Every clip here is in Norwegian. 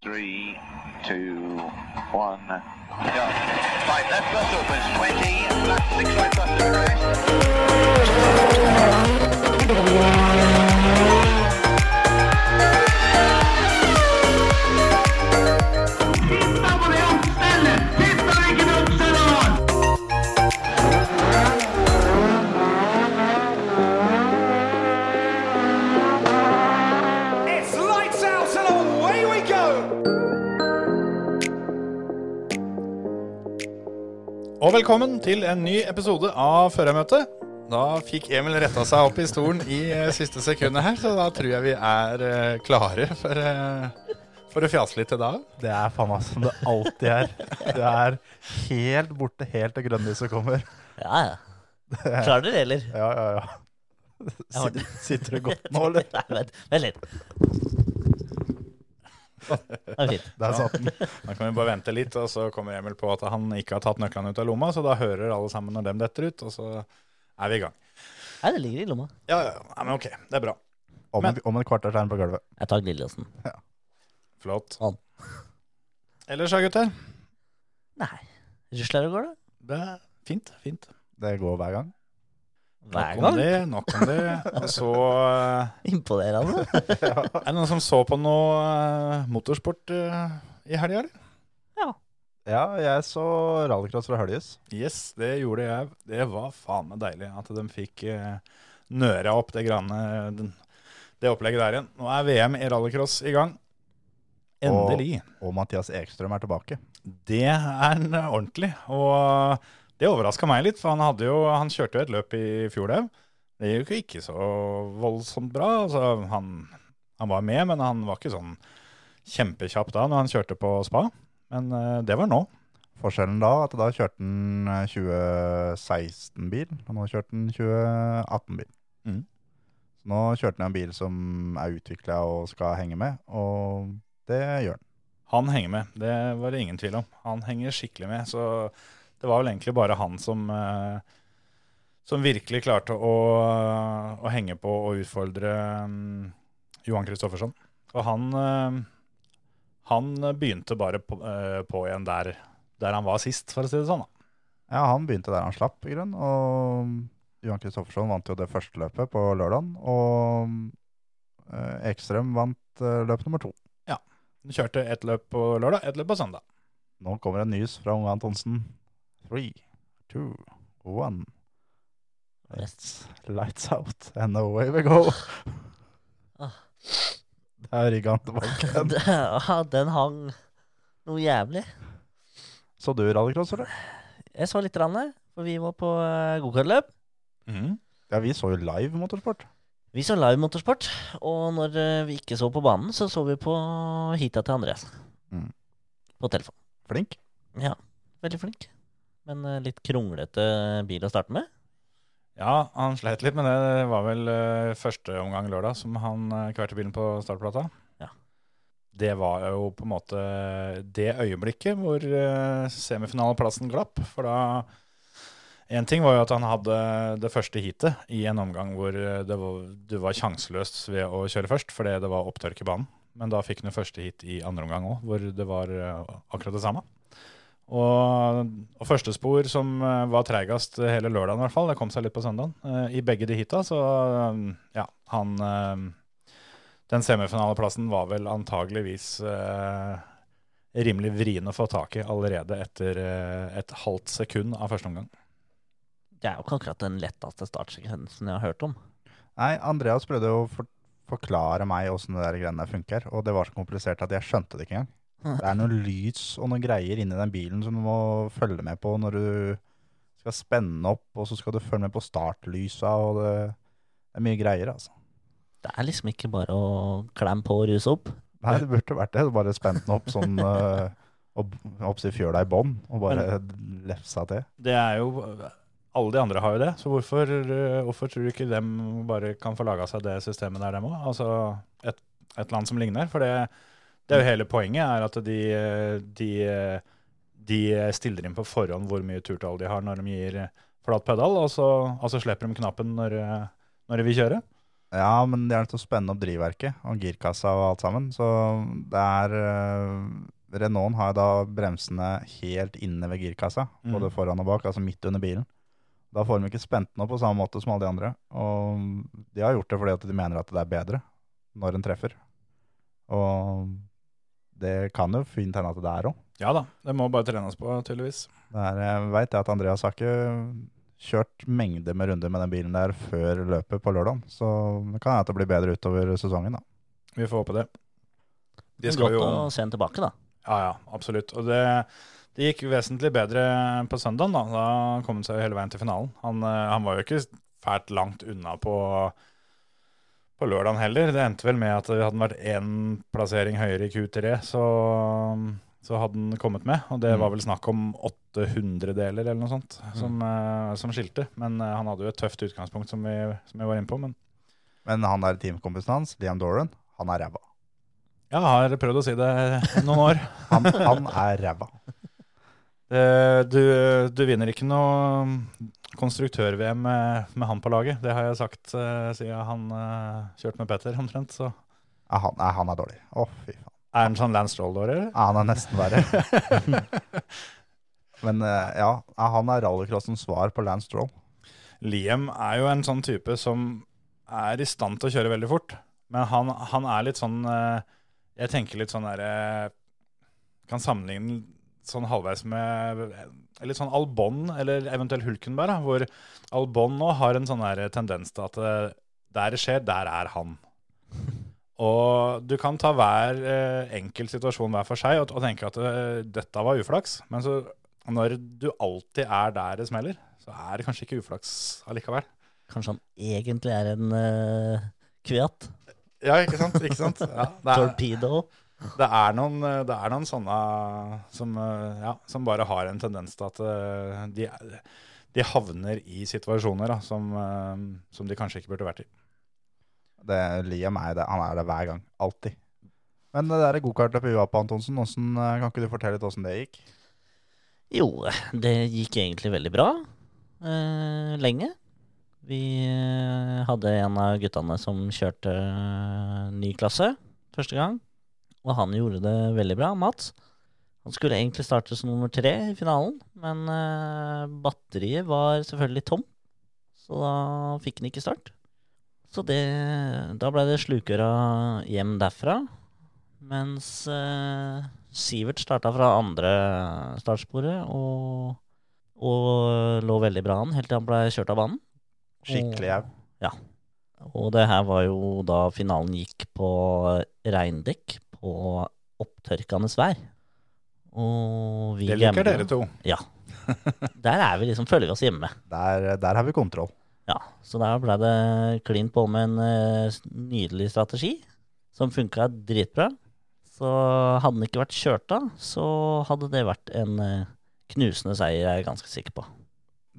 Three, two, one, go. Right, left bus opens 20, left six right bus to rest. Titta på det oppstellet! Titta hvilket oppstell han har! It's lights out and away we go! Og velkommen til en ny episode av Førermøtet. Da fikk Emil retta seg opp i stolen i eh, siste sekundet her, så da tror jeg vi er eh, klare for, eh, for å fjase litt i dag. Det er faen meg som det alltid er. Det er helt borte, helt til grønnlyset kommer. Ja, ja. Klarer dere det, eller? Ja, ja, ja. har den. Sitter, sitter du godt nå, eller? Nei, vent, vent litt. Det er fint. Der satt den. Da kan vi bare vente litt, og så kommer Emil på at han ikke har tatt nøklene ut av lomma, så da hører alle sammen når dem detter ut, og så er vi i gang. Nei, det ligger i lomma. Ja, ja, ja, men ok, det er bra. Om, en- om en kvarter er den på gulvet. Jeg tar glidelåsen. Flott. Sånn. Ellers da, gutter? Nei. Rusler og går, da. Det er fint, fint. Det går hver gang. Hver Nok om gang. det, nok om det. Og så eh, Imponerende. Er det noen som så på noe eh, motorsport eh, i helga, eller? Ja, jeg så rallycross fra Høljes. Yes, det gjorde jeg. Det var faen meg deilig at de fikk eh, nøra opp det, granne, den, det opplegget der igjen. Nå er VM i rallycross i gang. Endelig. Og Mathias Ekstrøm er tilbake. Det er en ordentlig. Og det overraska meg litt, for han, hadde jo, han kjørte jo et løp i fjor òg. Det gikk jo ikke så voldsomt bra. Altså, han, han var med, men han var ikke sånn kjempekjapp da når han kjørte på spa. Men eh, det var nå. Forskjellen da, at da kjørte han eh, 2016-bil, og nå kjørte han 2018-bil. Mhm. Så nå kjørte han en bil som er utvikla og skal henge med, og det gjør han. Han henger med, det var det ingen tvil om. Han henger skikkelig med, så det var vel egentlig bare han som, eh, som virkelig klarte å, å henge på og utfordre mm, Johan Kristoffersson. Og han, eh, han begynte bare på, eh, på igjen der, der han var sist, for å si det sånn. Da. Ja, han begynte der han slapp, i grunn, og Johan Kristoffersson vant jo det første løpet på lørdagen, og eh, Ekstrøm vant eh, løp nummer to. Han kjørte ett løp på lørdag, ett løp på søndag. Nå kommer en nys fra Unge Antonsen. Three, two, one. It's lights out, and away we go. Ah. Der rigga han tilbake. igjen. Ja, den hang noe jævlig. Så du rallycross, eller? Jeg så litt, rann, for vi var på eh, gokartløp. Ja, vi så jo live motorsport. Vi så live motorsport, og når eh, vi ikke så på banen, så så vi på heata til Andreas. Mm. På telefon. Flink. Ja, veldig flink. Men eh, litt kronglete bil å starte med. Ja, han sleit litt, men det var vel eh, første omgang lørdag som han eh, kverte bilen på startplata. Ja. Det var jo på en måte det øyeblikket hvor eh, semifinaleplassen glapp. For da Én ting var jo at han hadde det første heatet i en omgang hvor eh, det var, du var sjanseløs ved å kjøre først, fordi det var opptørk i banen. Men da fikk han jo første heat i andre omgang òg, hvor det var eh, akkurat det samme. Og, og første spor som eh, var treigest hele lørdagen, i hvert fall, det kom seg litt på søndagen, eh, i begge de hita, så eh, ja, han eh, Den semifinaleplassen var vel antageligvis eh, rimelig vrien å få tak i allerede etter eh, et halvt sekund av første omgang. Det er jo ikke akkurat den letteste startsekvensen jeg har hørt om. Nei, Andreas prøvde jo å for forklare meg åssen det der greiene der funker, og det var så komplisert at jeg skjønte det ikke engang. Det er noe lys og noen greier inni den bilen som du må følge med på når du skal spenne opp, og så skal du følge med på startlysa, og det er mye greier, altså. Det er liksom ikke bare å klemme på og ruse opp. Nei, det burde vært det. Du Bare spent den opp sånn eh, opp, opp til fjøla i bånn, og bare lefsa til. Det er jo Alle de andre har jo det, så hvorfor, eh, hvorfor tror du ikke dem bare kan få laga seg det systemet der, dem òg? Altså et, et land som ligner. For det, det er jo hele poenget, er at de, eh, de, eh, de stiller inn på forhånd hvor mye turtall de har når de gir eh, flat pedal, og så, og så slipper de knappen når, eh, når de vil kjøre. Ja, men de er nødt til å spenne opp drivverket og girkassa og alt sammen. Så det er eh, Renaulten har jo da bremsene helt inne ved girkassa, Mm. både foran og bak, altså midt under bilen. Da får de ikke spent den opp på samme måte som alle de andre. Og de har gjort det fordi at de mener at det er bedre når en treffer. Og det kan jo fint hende at det er òg. Ja da, det må bare trenes på, tydeligvis. Jeg veit at Andreas har ikke kjørt mengder med runder med den bilen der før løpet på lørdag, så det kan hende at det blir bedre utover sesongen. da. Vi får håpe det. De Det er skal godt jo å se den tilbake, da. Ja, ja, absolutt. Og det, det gikk vesentlig bedre på søndagen. Da Da kom han seg jo hele veien til finalen. Han, eh, han var jo ikke fælt langt unna på, på lørdagen heller. Det endte vel med at hadde han vært én plassering høyere i Q3, så, så hadde han kommet med. Og det var vel snakk om 800 deler eller noe sånt som, eh, som skilte. Men eh, han hadde jo et tøft utgangspunkt, som vi, som vi var inne på. Men Men han der teamkompisen hans, Liam Doran, han er ræva. jeg har prøvd å si det i noen år. Han, han er ræva. Det, Eh, du, du vinner ikke noe um, konstruktør-VM med, med han på laget. Det har jeg sagt eh, siden han eh, kjørte med Petter, omtrent. Så Ja, han, ja, han er dårlig. Å, fy faen. er han sånn Lance Stroll, da, eller? Ja, han er nesten verre. Men eh, ja, ja, han er rallycrossens svar på Lance Stroll. Liam er jo en sånn type som er i stand til å kjøre veldig fort. Men han, han er litt sånn eh, Jeg tenker litt sånn derre Kan sammenligne sånn halvveis med eh, litt sånn Albon, eller eventuelt Hulkenberg, da, hvor Albon nå har en sånn der tendens til at eh, der det skjer, der er han. Og du kan ta hver eh, enkelt situasjon hver for seg og, og tenke at eh, dette var uflaks, men så når du alltid er der det smeller, så er det kanskje ikke uflaks allikevel. Kanskje han egentlig er en uh, kviat? Ja, ikke sant? Ikke sant? Ja, det, er, Torpedo? det, er noen, eh, det er noen sånne som, eh, ja, som bare har en tendens til at eh, de, er- de havner i situasjoner da, som, eh, som de kanskje ikke burde vært i. Det, Liam er det. Han er det hver gang. Alltid. Men det der gokartløpet vi var på, Antonsen, hvordan, eh, kan ikke du fortelle litt åssen det gikk? Jo, det gikk egentlig veldig bra. Eh, lenge. Vi eh, hadde en av guttene som kjørte eh, ny klasse første gang. Og han gjorde det veldig bra, Mats. Han skulle egentlig starte som nummer tre i finalen, men eh, batteriet var selvfølgelig tom. Så da fikk han ikke start. Så det, da ble det slukøra hjem derfra. Mens eh, Sivert starta fra andre startsporet og, og lå veldig bra an helt til han ble kjørt av banen. Skikkelig jau. Og det her var jo da finalen gikk på regndekk på opptørkende vær. Og vi Det liker gambler- dere to. Ja. Der er vi liksom, føler vi oss hjemme. Der, der har vi kontroll. Ja, så der ble det klin på med en eh, s- nydelig strategi, som funka dritbra. Så hadde den ikke vært kjørt av, så hadde det vært en eh, knusende seier, jeg er ganske sikker på.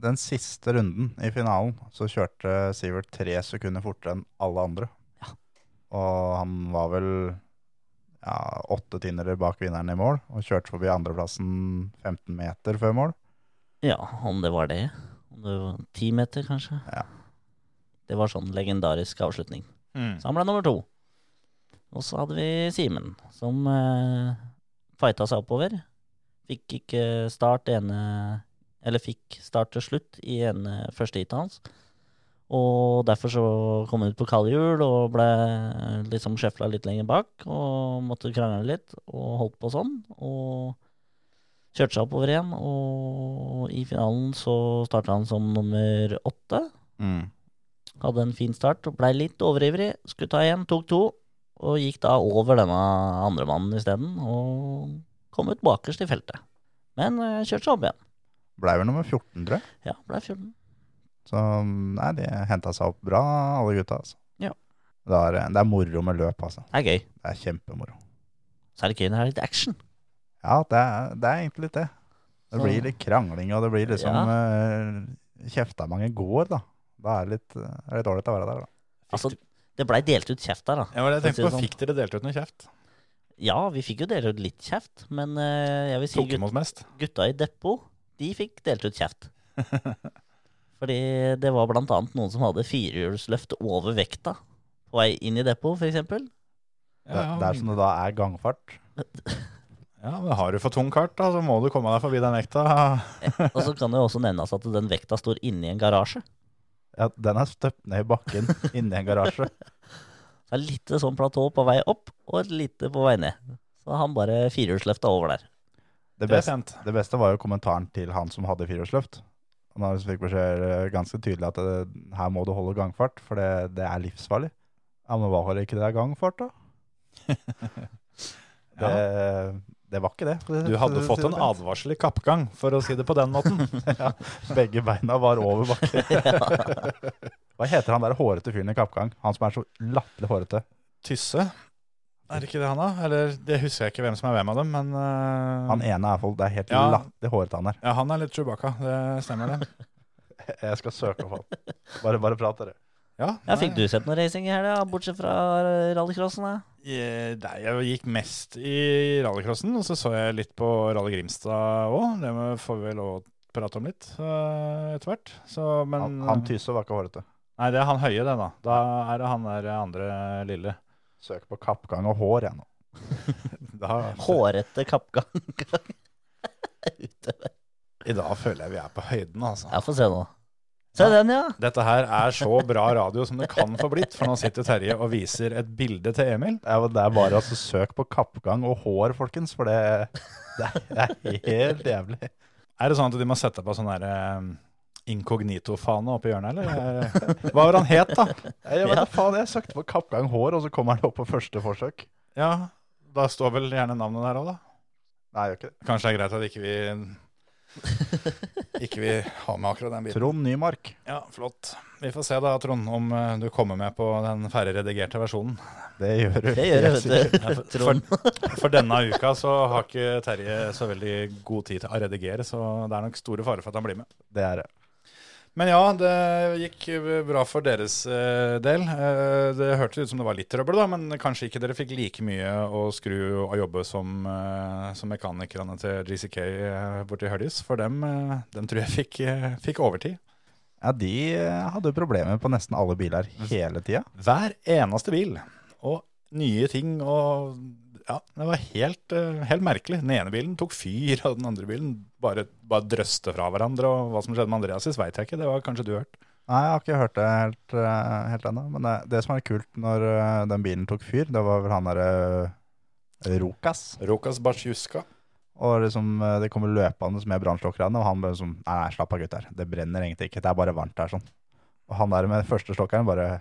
Den siste runden i finalen så kjørte Sivert tre sekunder fortere enn alle andre. Og han var vel ja, åtte tiendere bak vinneren i mål, og kjørte forbi andreplassen 15 meter før mål. Ja, om det var det. Om det var Ti meter, kanskje. Ja. Det var sånn legendarisk avslutning. Mm. Så han ble nummer to. Og så hadde vi Simen, som eh, fighta seg oppover. Fikk ikke start ene Eller fikk start til slutt i ene første heatet hans. Og derfor så kom han ut på kalde hjul og ble liksom sjefla litt lenger bak. Og måtte krangle litt og holdt på sånn. Og kjørte seg oppover igjen. Og i finalen så starta han som nummer åtte. Hadde en fin start, og blei litt overivrig. Skulle ta igjen, tok to. Og gikk da over denne andre mannen isteden, og kom ut bakerst i feltet. Men eh, kjørte seg opp igjen. Blei vel nummer 14, tror jeg. Ja, blei 14. Så nei, de henta seg opp bra, alle gutta. altså. Ja. Det er, det er moro med løp, altså. Det er gøy. Det er kjempemoro. Så er det gøy når det er litt action. Ja, det er, det er egentlig litt det. Det Så- Sånn. blir litt krangling, og det blir liksom eh, kjefta mange går, da. Da er det litt det er litt ålreit å være der, da. Altså, det blei delt ut kjeft der, da. Ja, men jeg tenkte på, For å si det sånn. Fikk dere delt ut noe kjeft? Ja, vi fikk jo dele ut litt kjeft, men eh, jeg vil si Tok gut- imot mest? gutta i depot, de fikk delt ut kjeft. Fordi det var blant annet noen som hadde firehjulsløft over vekta. på vei inn i depot, f.eks. Det, det er sånn- som det da er gangfart. Ja, men har du for tung kart, da, så må du komme deg forbi den vekta. Og så kan det jo også nevnes at den vekta står inni en garasje. Ja, den er støpt ned i bakken inni en garasje. Så det er litt sånn platå på vei opp, og et lite på vei ned. Så han bare firehjulsløfta over der. Det Det er beste, sent. det beste var jo kommentaren til han som hadde firehjulsløft. Han har- fikk beskjed eh, ganske tydelig at eh, her må du holde gangfart, for det, det er livsfarlig. Ja, men hva har ikke det er gangfart, da? det, det var ikke det. for å si- Du hadde si fått det sånn. en pent. advarsel i kappgang, for å si det på den måten. Begge beina var over bakken. Hva heter han der hårete fyren i kappgang? Han som er så latterlig hårete. Tysse, er det ikke det han da? Eller, det husker jeg ikke hvem som er hvem av dem, men eh, Han ene er folk, det er helt Ja. latterlig hårete han er. ja, han er litt Chewbacca, det stemmer det. Jeg skal søke opp han. Bare, bare prat, dere. Ja, Ja, nei, Fikk du sett noe racing i helga, bortsett fra rallycrossen? da? eh, Nei, jeg gikk mest i rallycrossen, og så så jeg litt på Rally Grimstad òg. Det må- får vi vel lov å prate om litt eh, etter hvert. Så, men eh, Han, han Tysse var ikke hårete. Nei, det er han høye, det, da. Da er det han der andre lille. Søk på kappgang og hår, jeg nå. Da, Hårete kappgang. I dag føler jeg vi er på høyden, altså. Ja, få se nå. Se den, ja. Dette her er så bra radio som det kan få blitt, for nå sitter Terje og viser et bilde til Emil. Ja, men Det er bare altså søk på kappgang og hår, folkens, for det, det er helt jævlig. Er det sånn at de må sette på sånn der eh, inkognito-fane oppi hjørnet, eller? Eh, Hva var han het, da? Jeg vet da faen, jeg søkte på kappgang hår, og så kommer det opp på første forsøk. Ja, da står vel gjerne navnet der òg, da. Nei, jeg gjør ikke det. Kanskje det er greit at ikke vi ikke vi har med akkurat den biten. Trond Nymark. Ja, flott. Vi får se da, Trond, om eh, du kommer med på den ferdigredigerte versjonen. Det gjør du. Det gjør helt jeg, vet Ja, for- du. Trond. For denne uka så har ikke Terje så veldig god tid til å redigere, så det er nok store fare for at han blir med. sikkert. Det er det. Men ja, det gikk bra for deres eh, del. Eh, Det hørtes ut som det var litt trøbbel, da, men kanskje ikke dere fikk like mye å skru og jobbe som, eh, som mekanikerne til GCK eh, borti Høljes, for dem, eh, dem tror jeg fikk, eh, fikk overtid. Ja, de eh, hadde jo problemer på nesten alle biler hele tida. Hver eneste bil. Og nye ting og Ja, det var helt, eh, helt merkelig. Den ene bilen tok fyr, og den andre bilen bare, bare drøste fra hverandre. Og hva som skjedde med Andreasis, veit jeg ikke. Det var kanskje du hørt. Nei, jeg har ikke hørt det helt, eh, helt ennå. Men det, det som er kult når eh, den bilen tok fyr, det var vel han derre Rokas. Rokas Batsjuska. Og liksom, eh, det kommer løpende med brannslokkerne, og han bare sånn Nei, nei, slapp av, gutter. Det brenner egentlig ikke. Det er bare varmt her, sånn. Og han der med første slokkeren bare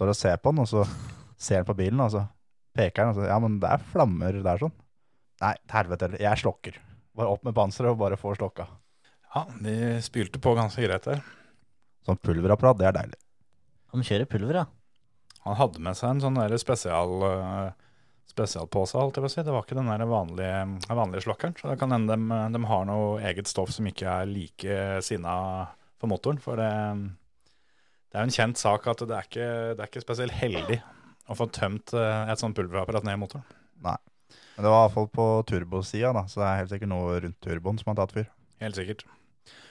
står og ser på den, og så ser han på bilen, og så peker han, og så Ja, men det er flammer der, sånn. Nei, til helvete heller. Jeg slokker. Bare opp med panseret og bare få slokka. Ja, de spylte på ganske greit der. Sånn pulverapparat, det er deilig. Han kjører pulver, ja. Han hadde med seg en sånn der spesial, eh, spesialpose, holdt jeg på å si. Det var ikke den der vanlige, den vanlige slokkeren. Så det kan hende de, de har noe eget stoff som ikke er like sinna for motoren. For det, det er jo en kjent sak at det er ikke, det er ikke spesielt heldig å få tømt eh, et sånt pulverapparat ned i motoren. Men det var iallfall på turbosida, da, så det er helt sikkert noe rundt turboen som har tatt fyr. Helt sikkert.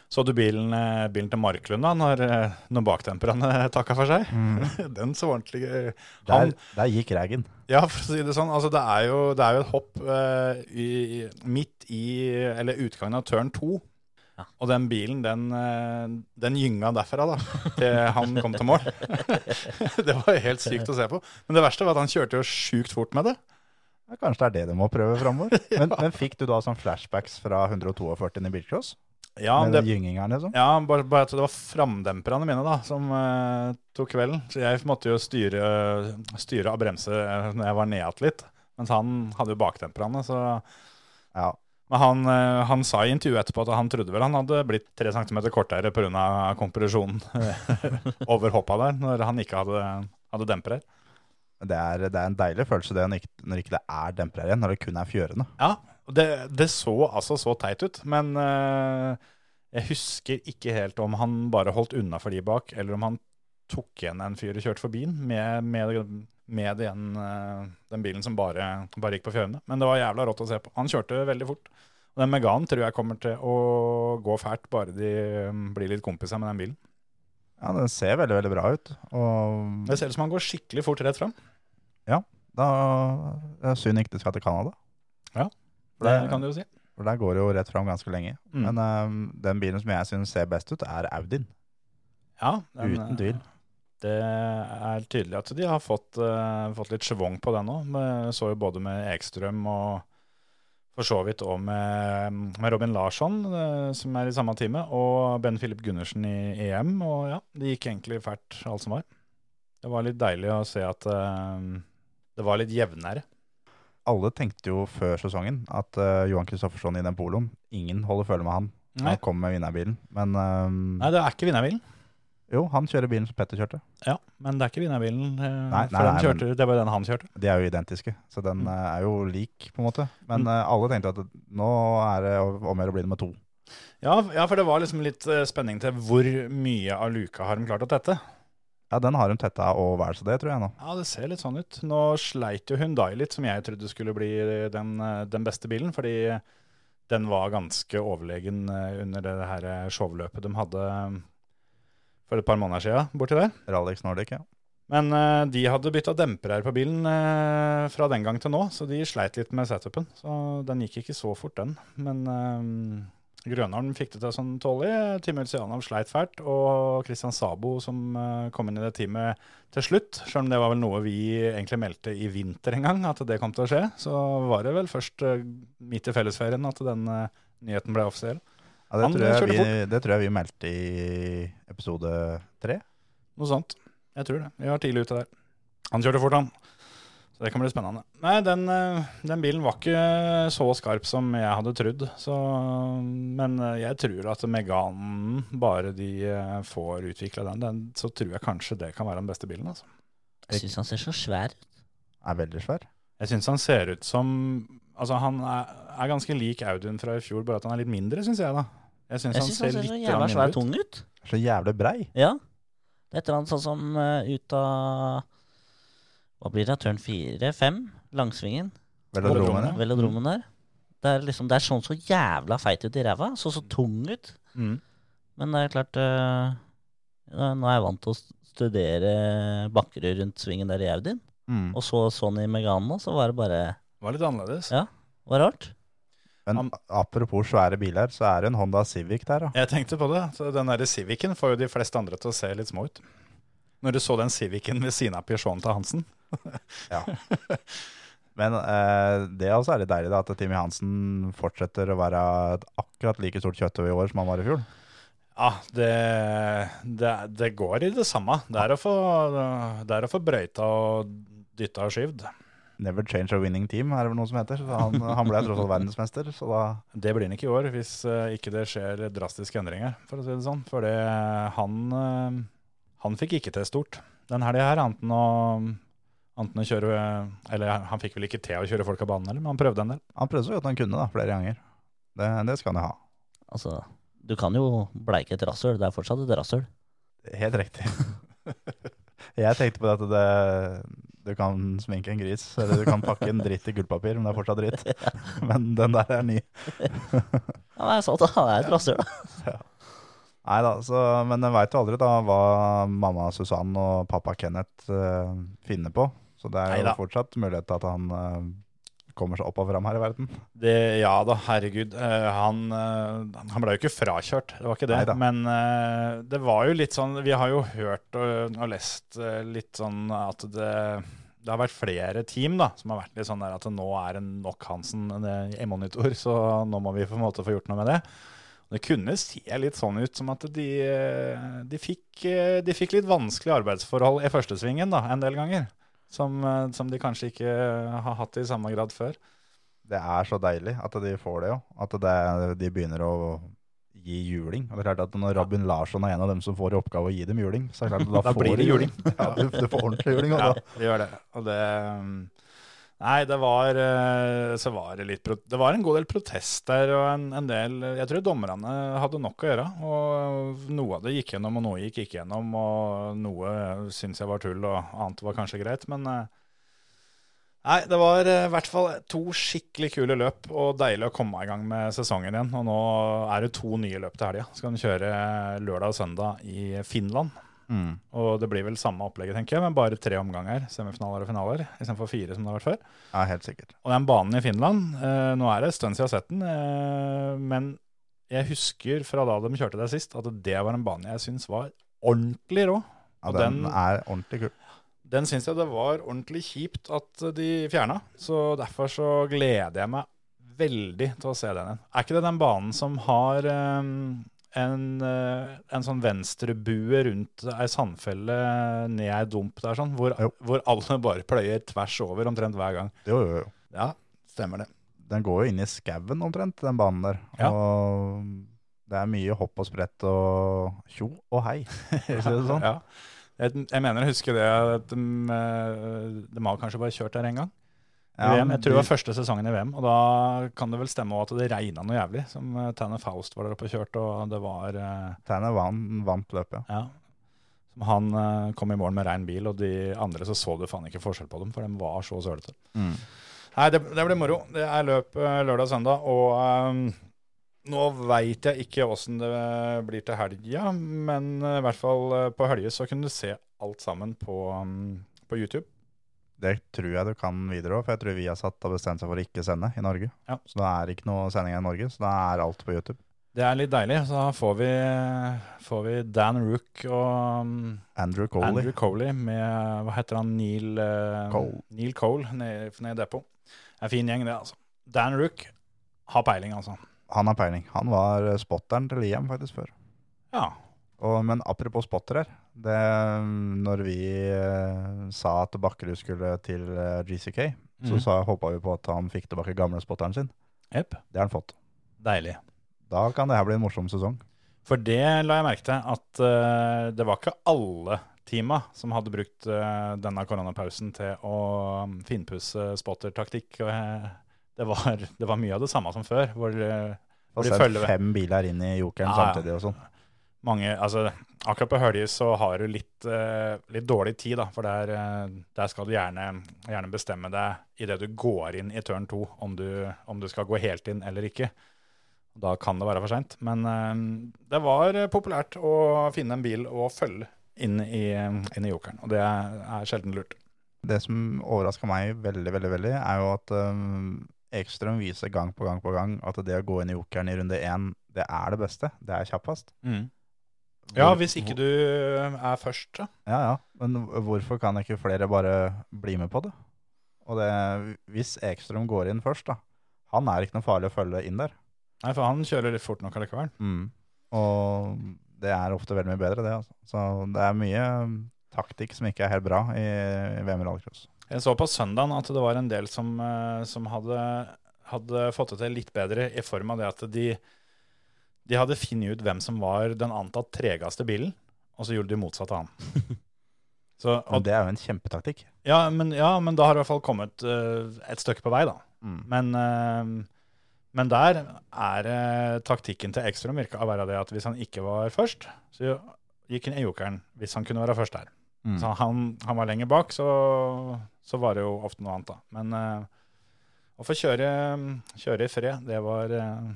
Så du bilen, eh, bilen til Marklund da, når, eh, når baktemperne takka for seg? Den så ordentlig eh, Der, Mm. Han- der gikk raggen. Ja, for å si det sånn. Altså, det, er jo, det er jo et hopp eh, i, i- midt i Eller utgangen av tørn to. Ja. Og den bilen, den, eh, den gynga derfra, da. Til han kom til mål. det var jo helt sykt å se på. Men det verste var at han kjørte jo sjukt fort med det. Ja, kanskje det er det de må prøve framover. men, men fikk du da sånn flashbacks fra 142 i bilcross? Ja, med det, den gyngingeren, liksom? ja bare, bare at det var framdemperne mine da, som eh, tok kvelden. Så jeg måtte jo styre, styre og bremse eh, når jeg var nedåt litt. Mens han hadde jo bakdemperne, så Ja. Men han, eh, han sa i intervjuet etterpå at han trodde vel han hadde blitt tre centimeter kortere pga. kompresjonen eh, over hoppa der, når han ikke hadde, hadde demper her. Det er, det er en deilig følelse det når ikke, når ikke det er demper her igjen, når det kun er fjørene. Ja, og det, det så altså så teit ut, men eh, jeg husker ikke helt om han bare holdt unna for de bak, eller om han tok igjen en fyr og kjørte forbi den med, med, med den, eh, den bilen som bare, bare gikk på fjørene. Men det var jævla rått å se på. Han kjørte veldig fort. Og den Meganen tror jeg kommer til å gå fælt, bare de eh, blir litt kompiser med den bilen. Ja, den ser veldig, veldig bra ut. Og Det ser ut som han går skikkelig fort rett fram. da det er synd ikke det skal til Canada. Ja, For Det der- kan du jo si. For der går det jo rett fram ganske lenge. Mm. Men eh, den bilen som jeg syns ser best ut, er Audien. Ja, den, Uten tvil. Det er tydelig at de har fått, eh, fått litt schwung på den òg. Så jo både med Ekstrøm og for så vidt òg med, med Robin Larsson, eh, som er i samme time, og Ben Philip Gundersen i EM. Og ja, det gikk egentlig fælt, alt som var. Det var litt deilig å se at eh, det var litt jevnere. Alle tenkte jo før sesongen at eh, Johan Kristoffersson i den poloen Ingen holder følge med han. Nei. Han kommer med vinnerbilen. Men eh, Nei, det er ikke vinnerbilen. jo, han kjører bilen som Petter kjørte. Ja, men det er ikke vinnerbilen. eh, Nei, nei, for den nei, men- kjørte, Det var den han kjørte. De er jo identiske, så den Mm. eh, er jo lik, på en måte. Men eh, alle tenkte at nå er det om å gjøre å bli nummer to. Ja, ja, for det var liksom litt eh, spenning til hvor mye av luka har de klart å tette. Ja, den har de tetta og vel så det, tror jeg nå. Ja, det ser litt sånn ut. Nå sleit jo Hyundai litt, som jeg trodde skulle bli den, eh, den beste bilen, fordi den var ganske overlegen eh, under det her showløpet de hadde eh, for et par måneder siden borti der. Rallex Nordic, ja. Men eh, de hadde bytta demper her på bilen eh, fra den gang til nå, så de sleit litt med setupen. Så den gikk ikke så fort, den. Men eh, Grønholm fikk det til sånn tålelig. Tim Ulsianov sleit fælt. Og Christian Sabo, som eh, kom inn i det teamet til slutt, selv om det var vel noe vi egentlig meldte i vinter en gang, at det kom til å skje, så var det vel først eh, midt i fellesferien at den eh, nyheten ble offisiell. ja det, Han tror jeg kjørte vi, det tror jeg vi meldte i episode tre. Noe sånt. Jeg tror det. Vi var tidlig ute der. Han kjørte fort, han. Så det kan bli spennende. Nei, den, eh, den bilen var ikke så skarp som jeg hadde trodd. Så, men eh, jeg tror at Meganen, bare de eh, får utvikla den, den, så tror jeg kanskje det kan være den beste bilen. Altså. Jeg syns han ser så svær ut. Er veldig svær. Jeg syns han ser ut som Altså, han er, er ganske lik Audun fra i fjor, bare at han er litt mindre, syns jeg, da. Jeg syns Jeg han, syns ser han ser litt så grann jævla mindre svær ut. tung ut. Så jævlig brei. Ja. Det er et eller annet sånn som eh, ut av Hva blir det? Tørn fire? Fem? Langsvingen? Velodromen, ja. Velodromen der. Det er liksom, det er sånn så jævla feit ut i ræva. Så så tung ut. Mm. Men det er klart eh, ja, Nå er jeg vant til å studere bakker rundt svingen der i Audien. Mm. Og så sånn i Meganen nå, så var det bare Var litt annerledes. Ja. var rart. Men Han- apropos svære biler, så er det en Honda Civic der, da. Jeg tenkte på det. Så den der Civicen får jo de fleste andre til å se litt små ut. Når du så den Civicen ved siden av Peugeoten til Hansen. Men eh, det også er litt deilig da, at Timmy Hansen fortsetter å være et akkurat like stort kjøttøy i år som han var i fjor. Ja, det, det, det går i det samme. Det er å få, det er å få brøyta og dytta og skyvd. Never change a winning team, er det vel noe som heter. Så han, han ble tross alt verdensmester, så da Det blir han ikke i år hvis eh, ikke det skjer drastiske endringer, for å si det sånn. For det, han, eh, han fikk ikke til stort den helga her, annet enn å annet enn å kjøre, eller Han fikk vel ikke til å kjøre folk av banen, heller, men han prøvde en del. Han prøvde så godt han kunne, da, flere ganger. Det, det skal han jo ha. Altså, du kan jo bleike et rasshøl. Det er fortsatt et rasshøl. Helt riktig. Jeg tenkte på det at det, du kan sminke en gris, eller du kan pakke en dritt i gullpapir, men det er fortsatt dritt. Men den der er ny. Ja, men jeg sa det, han er et rasshøl, da. Nei da, så, men en veit jo aldri da hva mamma Susann og pappa Kenneth eh, finner på. Så det er jo Neida. fortsatt mulighet til at han eh, kommer seg opp og fram her i verden. Det, ja da, herregud. Eh, han, eh, han ble jo ikke frakjørt, det var ikke det. Neida. Men eh, det var jo litt sånn Vi har jo hørt og, og lest eh, litt sånn at det det har vært flere team da, som har vært litt sånn der at nå er det nok Hansen eh, i monitor, så nå må vi på en måte få gjort noe med det. Det kunne se litt sånn ut som at de, eh, de, fikk, eh, de fikk litt vanskelige arbeidsforhold i førstesvingen da, en del ganger. Som, eh, som de kanskje ikke har hatt i samme grad før. Det er så deilig at de får det jo. At det, de begynner å gi juling. Og det er klart at når Robin Larsson er en av dem som får i oppgave å gi dem juling, så er det klart at da, Da får blir det de juling. ja, du, du får ordentlig juling. altså. Og Ja, da. det gjør det. Og det um, Nei, det var eh, Så var det litt pro- Det var en god del protester og en, en del Jeg tror dommerne hadde nok å gjøre. Og noe av det gikk gjennom, og noe gikk ikke gjennom. Og noe syns jeg var tull, og annet var kanskje greit, men eh, Nei, det var eh, i hvert fall to skikkelig kule løp, og deilig å komme i gang med sesongen eh, igjen. Og nå er det to nye løp til helga. Så kan du kjøre lørdag og søndag i Finland. Mm. Og det blir vel samme opplegget, tenker jeg, men bare tre omganger, semifinaler og finaler, istedenfor fire som det har vært før. Ja, helt sikkert. Og den banen i Finland, eh, nå er det en stund siden jeg har sett den, eh, men jeg husker fra da de kjørte det sist, at det var en bane jeg syns var ordentlig rå. Ja, Og den, den- er ordentlig kul. Den syns jeg det var ordentlig kjipt at de fjerna, så derfor så gleder jeg meg veldig til å se den igjen. Er ikke det den banen som har eh, en, eh, en sånn venstrebue rundt ei sandfelle ned ei dump der, sånn, hvor, Jo. hvor alle bare pløyer tvers over omtrent hver gang? Jo, jo, jo. Ja, stemmer det. Den går jo inn i skauen omtrent, den banen der. Ja. Og det er mye hopp og sprett og tjo og hei, for å si det sånn. Ja. Jeg, jeg mener å huske det at de, eh, de har kanskje bare kjørt der én gang. I Ja, VM. Jeg tror det de- var første sesongen i VM, og da kan det vel stemme også at det regna noe jævlig. Som eh, Tanner Faust var der oppe og kjørte, og det var eh, Tanner vant, vant løpet, ja. Ja. Som han eh, kom i mål med rein bil, og de andre så så du faen ikke forskjell på dem, for de var så sølete. Mm. Nei, det, det blir moro. Det er løp eh, lørdag og søndag, og ehm, nå veit jeg ikke åssen det blir til helga, men eh, i hvert fall eh, på helge så kunne du se alt sammen på, mm, på YouTube. Det tror jeg du kan videre òg, for jeg tror vi har satt og bestemt seg for å ikke sende i Norge. Ja. Så det er ikke noe sending i Norge, så da er alt på YouTube. Det er litt deilig. Så da får vi, får vi Dan Rook og mm, Andrew Coley. Andrew Coley med hva heter han, Neil eh, Cole. Neil Cole nede ned i Depot. En fin gjeng, det, altså. Dan Rook har peiling, altså. Han har peiling. Han var eh, spotteren til Liam faktisk før. Ja. Og, men apropos spotter her. Det, mm, når vi eh, sa at Bakkerud skulle til eh, GCK, så Mhm. sa, håpa vi på at han fikk tilbake gamle spotteren sin. Jepp. Det har han fått. Deilig. Da kan det her bli en morsom sesong. For det la jeg merke til, at eh, det var ikke alle teama som hadde brukt eh, denne koronapausen til å mm, finpusse spottertaktikk. Og, eh, det, var, det var mye av det samme som før, hvor eh, Og Blir så er det følge- fem biler inn i jokeren Ja, ja. samtidig og sånn. mange Altså, akkurat på Hølje så har du litt, eh, litt dårlig tid, da. For der, eh, der skal du gjerne, gjerne bestemme deg idet du går inn i turn to, om du, om du skal gå helt inn eller ikke. Da kan det være for seint. Men eh, det var eh, populært å finne en bil og følge inn i, inn i jokeren. Og det er sjelden lurt. Det som overraska meg veldig, veldig, veldig, er jo at um, Ekstrøm viser gang på gang på gang at det å gå inn i jokeren i runde én, det er det beste. Det er kjappest. Ja, Hvor- hvis ikke du er først, da. Ja, ja. Men hvorfor kan ikke flere bare bli med på det? Og det, hvis Ekstrøm går inn først, da Han er ikke noe farlig å følge inn der. Nei, for han kjører litt fort nok allikevel. Og det er ofte veldig mye bedre, det. Altså. Så det er mye um, taktikk som ikke er helt bra i, i VM rallycross. Jeg så på søndagen at det var en del som, eh, som hadde, hadde fått det til litt bedre i form av det at de, de hadde funnet ut hvem som var den antatt tregeste bilen, og så gjorde de motsatt av han. Så, Men og, det er jo en kjempetaktikk. ja, men, ja, men da har du i hvert fall kommet eh, et stykke på vei, da. Mm. Men, eh, men der er eh, taktikken til Ekstrøm virka å være det at hvis han ikke var først, så gikk han i jokeren hvis han kunne være først der. Mm. Så han, han var lenger bak, så, så var det jo ofte noe annet, da. Men eh, å få kjøre, kjøre i fred, det var eh,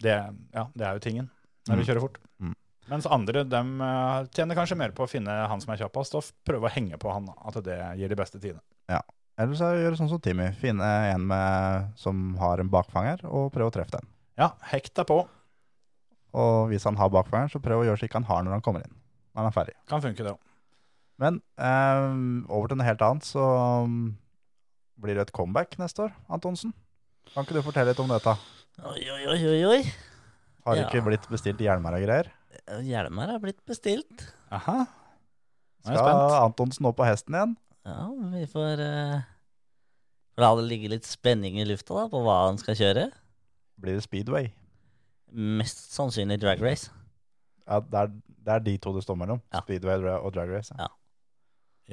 det, Ja, det er jo tingen når Mm. du kjører fort. Mm. Mens andre dem eh, tjener kanskje mer på å finne han som er kjappest, og f- prøve å henge på han. da, At det gir de beste tidene. Eller så gjøre sånn som Timmy. Finne en med, som har en bakfanger, og prøve å treffe den. Ja, hekt deg på. Og hvis han har bakfangeren, så prøv å gjøre slik han har når han kommer inn. Når han er ferdig. Kan funke, det òg. Men eh, over til noe helt annet, så mm, blir det et comeback neste år, Antonsen. Kan ikke du fortelle litt om dette? Oi, oi, oi, oi, oi. Har det Ja. ikke blitt bestilt hjelmer og greier? Hjelmer er blitt bestilt. Aha. Nå er jeg Skal spent. Antonsen opp på hesten igjen? Ja, vi får eh, får la det ligge litt spenning i lufta da, på hva han skal kjøre. Blir det speedway? Mest sannsynlig drag race. Ja, det, er, det er de to det står mellom. Ja. Speedway dra- og drag race. Ja.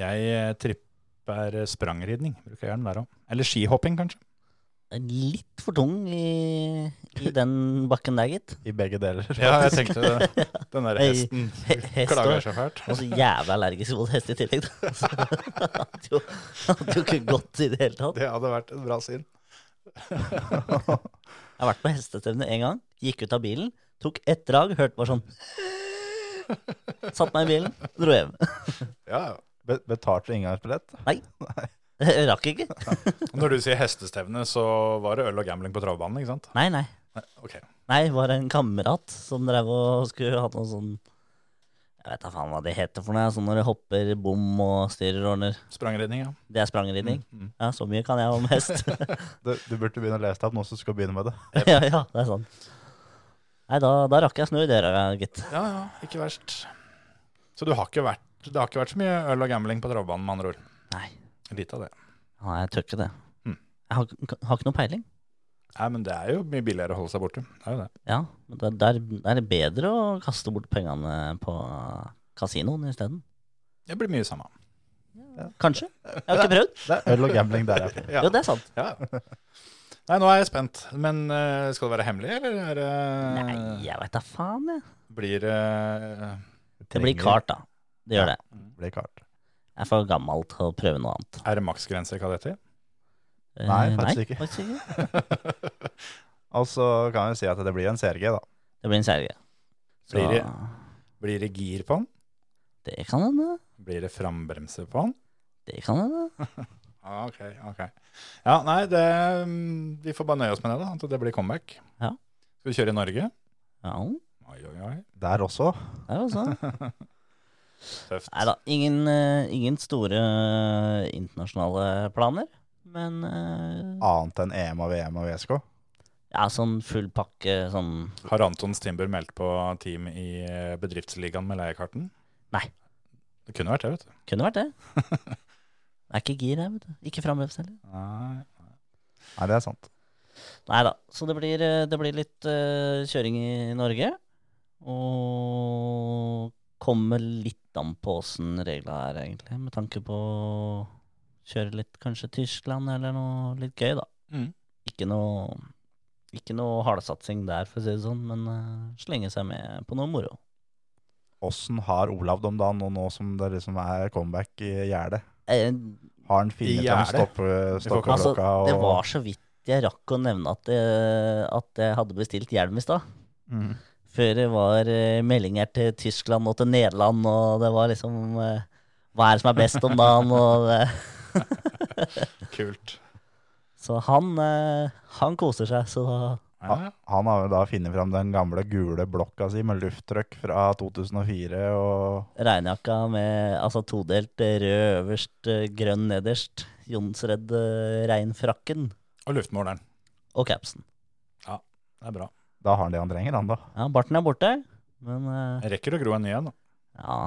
Jeg eh, tripper eh, sprangridning. Bruker hjelm der òg. Eller skihopping, kanskje. Er Litt for tung i, i den bakken der, gitt. I begge deler. Ja, jeg tenkte det. Den der Hei, hesten he- hest klager og- så fælt. Og så jævlig allergisk mot hest i tillegg. da. Så Hadde jo, hadde jo ikke gått i det hele tatt. Det hadde vært et bra syn. Jeg har vært på hestestevne en gang, gikk ut av bilen, tok ett drag, hørte bare sånn Satt meg i bilen, dro hjem. Ja, ja. Be betalte inngangsbillett? Jeg rakk ikke. Når du sier hestestevne, så var det øl og gambling på travbanen, ikke sant? Nei, nei. Nei, Ok. Nei, det var en kamerat som drev og skulle hatt noe sånn Jeg vet da faen hva det heter for noe, sånn når du hopper bom og styrer og ordner. Sprangridning, ja. Det er sprangridning. Mm, mm. Ja, så mye kan jeg om hest. Du, du burde begynne å lese deg opp nå som skal begynne med det. ja, ja, det er sånn. Nei, da, da rakk jeg å snu døra, gitt. Ja, ja, ikke verst. Så du har ikke vært, det har ikke vært så mye øl og gambling på travbanen, med andre ord? Nei. Lite av det. Nei, jeg tør ikke det. Hmm. Mm. Jeg har, ikke- har ikke noe peiling. Nei, men det er jo mye billigere å holde seg borte. Det er jo det. Ja, men det, der, der er det bedre å kaste bort pengene på kasinoen isteden. Det blir mye samme. Kanskje. Jeg har ikke prøvd. Det er øl og gambling der, ja. Ja. Jo, det er sant. Ja. Nei, nå er jeg spent. Men eh, skal det være hemmelig, eller er det Eh. Nei, jeg veit da faen, jeg. Blir eh, det Det blir Trenger- kart, da. Det gjør det. Blir kart. Jeg er for gammel til å prøve noe annet. Er det maksgrense i kadetter? Eh, Nei, faktisk ikke. faktisk ikke. Og så kan vi si at det blir en CRG, da. Det blir en serie. Så Blir det, blir det gir på den? det kan hende. Blir det frambremse på den? Det kan hende. Ah, ok, ok. Ja, nei, det, mm, vi får bare nøye oss med det, da. At det blir comeback. Ja. Skal vi kjøre i Norge? Ja, Oi, oi, oi. Der også. det er jo sånn. Tøft. Nei da, ingen, eh, ingen store eh, internasjonale planer. Men eh, Annet enn EM og VM og VSK. ja, sånn full pakke, sånn Har Antons Timber meldt på team i eh, bedriftsligaen med leiekarten? Nei. Det kunne vært det, vet du. Kunne vært det. Det er ikke gir her, vet du. Ikke framheves heller. Nei. Nei, det er sant. Nei da. Så det blir, eh, det blir litt eh, kjøring i Norge. Og kommer litt an på åssen regla er, egentlig. Med tanke på å kjøre litt kanskje Tyskland eller noe litt gøy, da. Mm. Ikke noe ikke noe hardsatsing der, for å si det sånn, men eh, slenge seg med på noe moro. Åssen har Olav det om dagen nå, nå som det liksom er comeback i gjerdet? Eh, Har han funnet I fram gjerdet? stoppe- Vi får ikke- altså, stoppeklokka og det var så vidt jeg rakk å nevne at, eh, at jeg hadde bestilt hjelm i stad. mm. Før det var eh, meldinger til Tyskland og til Nederland, og det var liksom eh, Hva er det som er best om dagen? Og det. Kult. Så han, eh, han koser seg, så da Ja, ja. Han har jo da funnet fram den gamle gule blokka si med lufttrykk fra 2004 og regnjakka med altså todelt eh, rød øverst, eh, grønn nederst, Jonsredd eh, reinfrakken Og luftmåleren. og capsen. Det er bra. Da har han det han trenger, han da. Ja, barten er borte, men eh, Jeg rekker å gro en ny en, da. ja,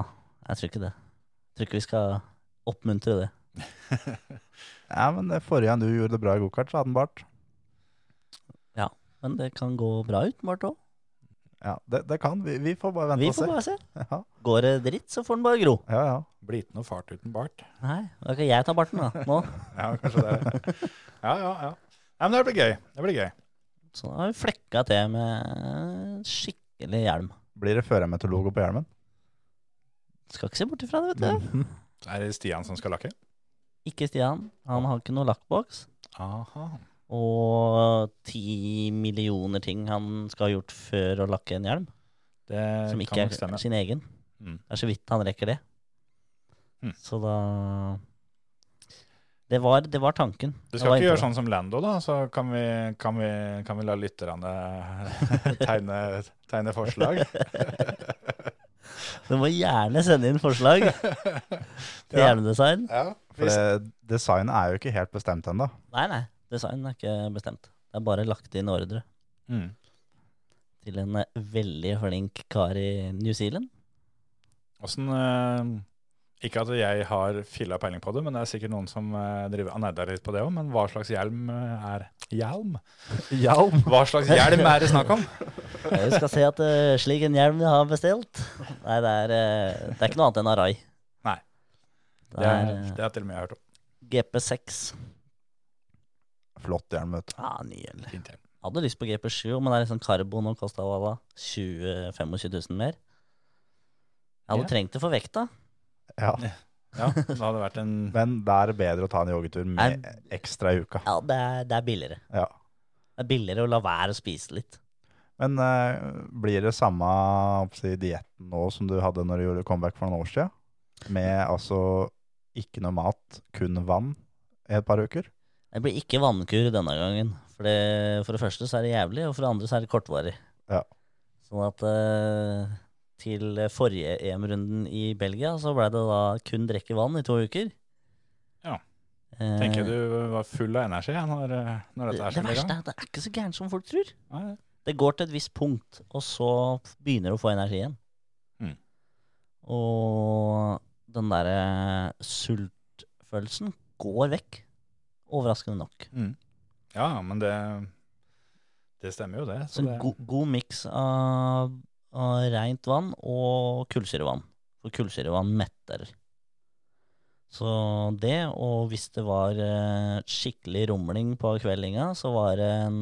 jeg tror ikke det. Jeg tror ikke vi skal oppmuntre det. Ja, men det forrige gang du gjorde det bra i gokart, så hadde han bart. Men det kan gå bra ut, Bart òg. Ja, det, det kan. Vi, vi får bare vente Vi og se. får bare se. Ja, Går det dritt, så får den bare gro. ja, ja. Blir ikke noe fart uten bart. Nei, da kan jeg ta barten da, nå. Ja, kanskje det. Ja, ja, ja. Nei, men det blir gøy. Det blir gøy. Så da har vi flekka til med skikkelig hjelm. Blir det førermeteorologo på hjelmen? Skal ikke se bort ifra det, Mm. vet du. Mhm. Så er det Stian som skal lakke. Ikke Stian. Han har ikke noe lakkboks. Aha. Og ti millioner ting han skal ha gjort før å lakke en hjelm. Det Som kan ikke nok er stemme. sin egen. Mm. Det er så vidt han rekker det. Mm. Så da det var, det var tanken. Du Jeg skal var ikke inne gjøre på det. sånn som Lando, da? Så kan vi, kan vi, kan vi la lytterne tegne, tegne forslag? Du må gjerne sende inn forslag til Ja. hjelmdesign. Ja, For det, designet er jo ikke helt bestemt ennå. Nei, nei. Design er ikke bestemt. Det er bare lagt inn ordre Mm. til en eh, veldig flink kar i New Zealand. Åssen eh, Ikke at jeg har filla peiling på det, men det er sikkert noen som eh, driver og nerder litt på det òg. Men hva slags hjelm eh, er Hjelm? Hjelm! Hva slags hjelm er det snakk om? Ja, Vi skal se at eh, slik en hjelm vi har bestilt Nei, det er, eh, det er ikke noe annet enn Arai. Nei. Det er eh, det har til og med jeg hørt om. GP6. Flott hjelm, vet du. Ja, nyhjelm. Fint hjelm. Ah, Hadde lyst på GP7, men det er liksom karbon og kosta hva da? 20 25 000 mer. Jeg hadde Ja. trengt det for vekta. Ja. Ja, det hadde vært en Men det er bedre å ta en joggetur med ekstra i uka. Ja, det er, det er billigere. Ja. Det er billigere å la være å spise litt. Men eh, blir det samme si, dietten nå som du hadde når du gjorde comeback for noen år siden? Med altså ikke noe mat, kun vann i et par uker? Det blir ikke vannkur denne gangen. For det, for det første så er det jævlig, og for det andre så er det kortvarig. Ja. Sånn at eh, til forrige EM-runden i Belgia så ble det da kun drikke vann i to uker. Ja. Eh, Tenker du var full av energi ja, når, eh, når det, dette er det sånn i verste gang? er at det er ikke så gærent som folk tror. Nei, Det går til et visst punkt, og så begynner du å få energi igjen. Mm. Og den derre sultfølelsen går vekk. Overraskende nok. Mm. Ja, men det, det stemmer jo, det. Så Så en det go god miks av, av rent vann og kullsyrevann. For kullsyrevann metter. Så det, og hvis det var eh, skikkelig rumling på kveldinga, så var det en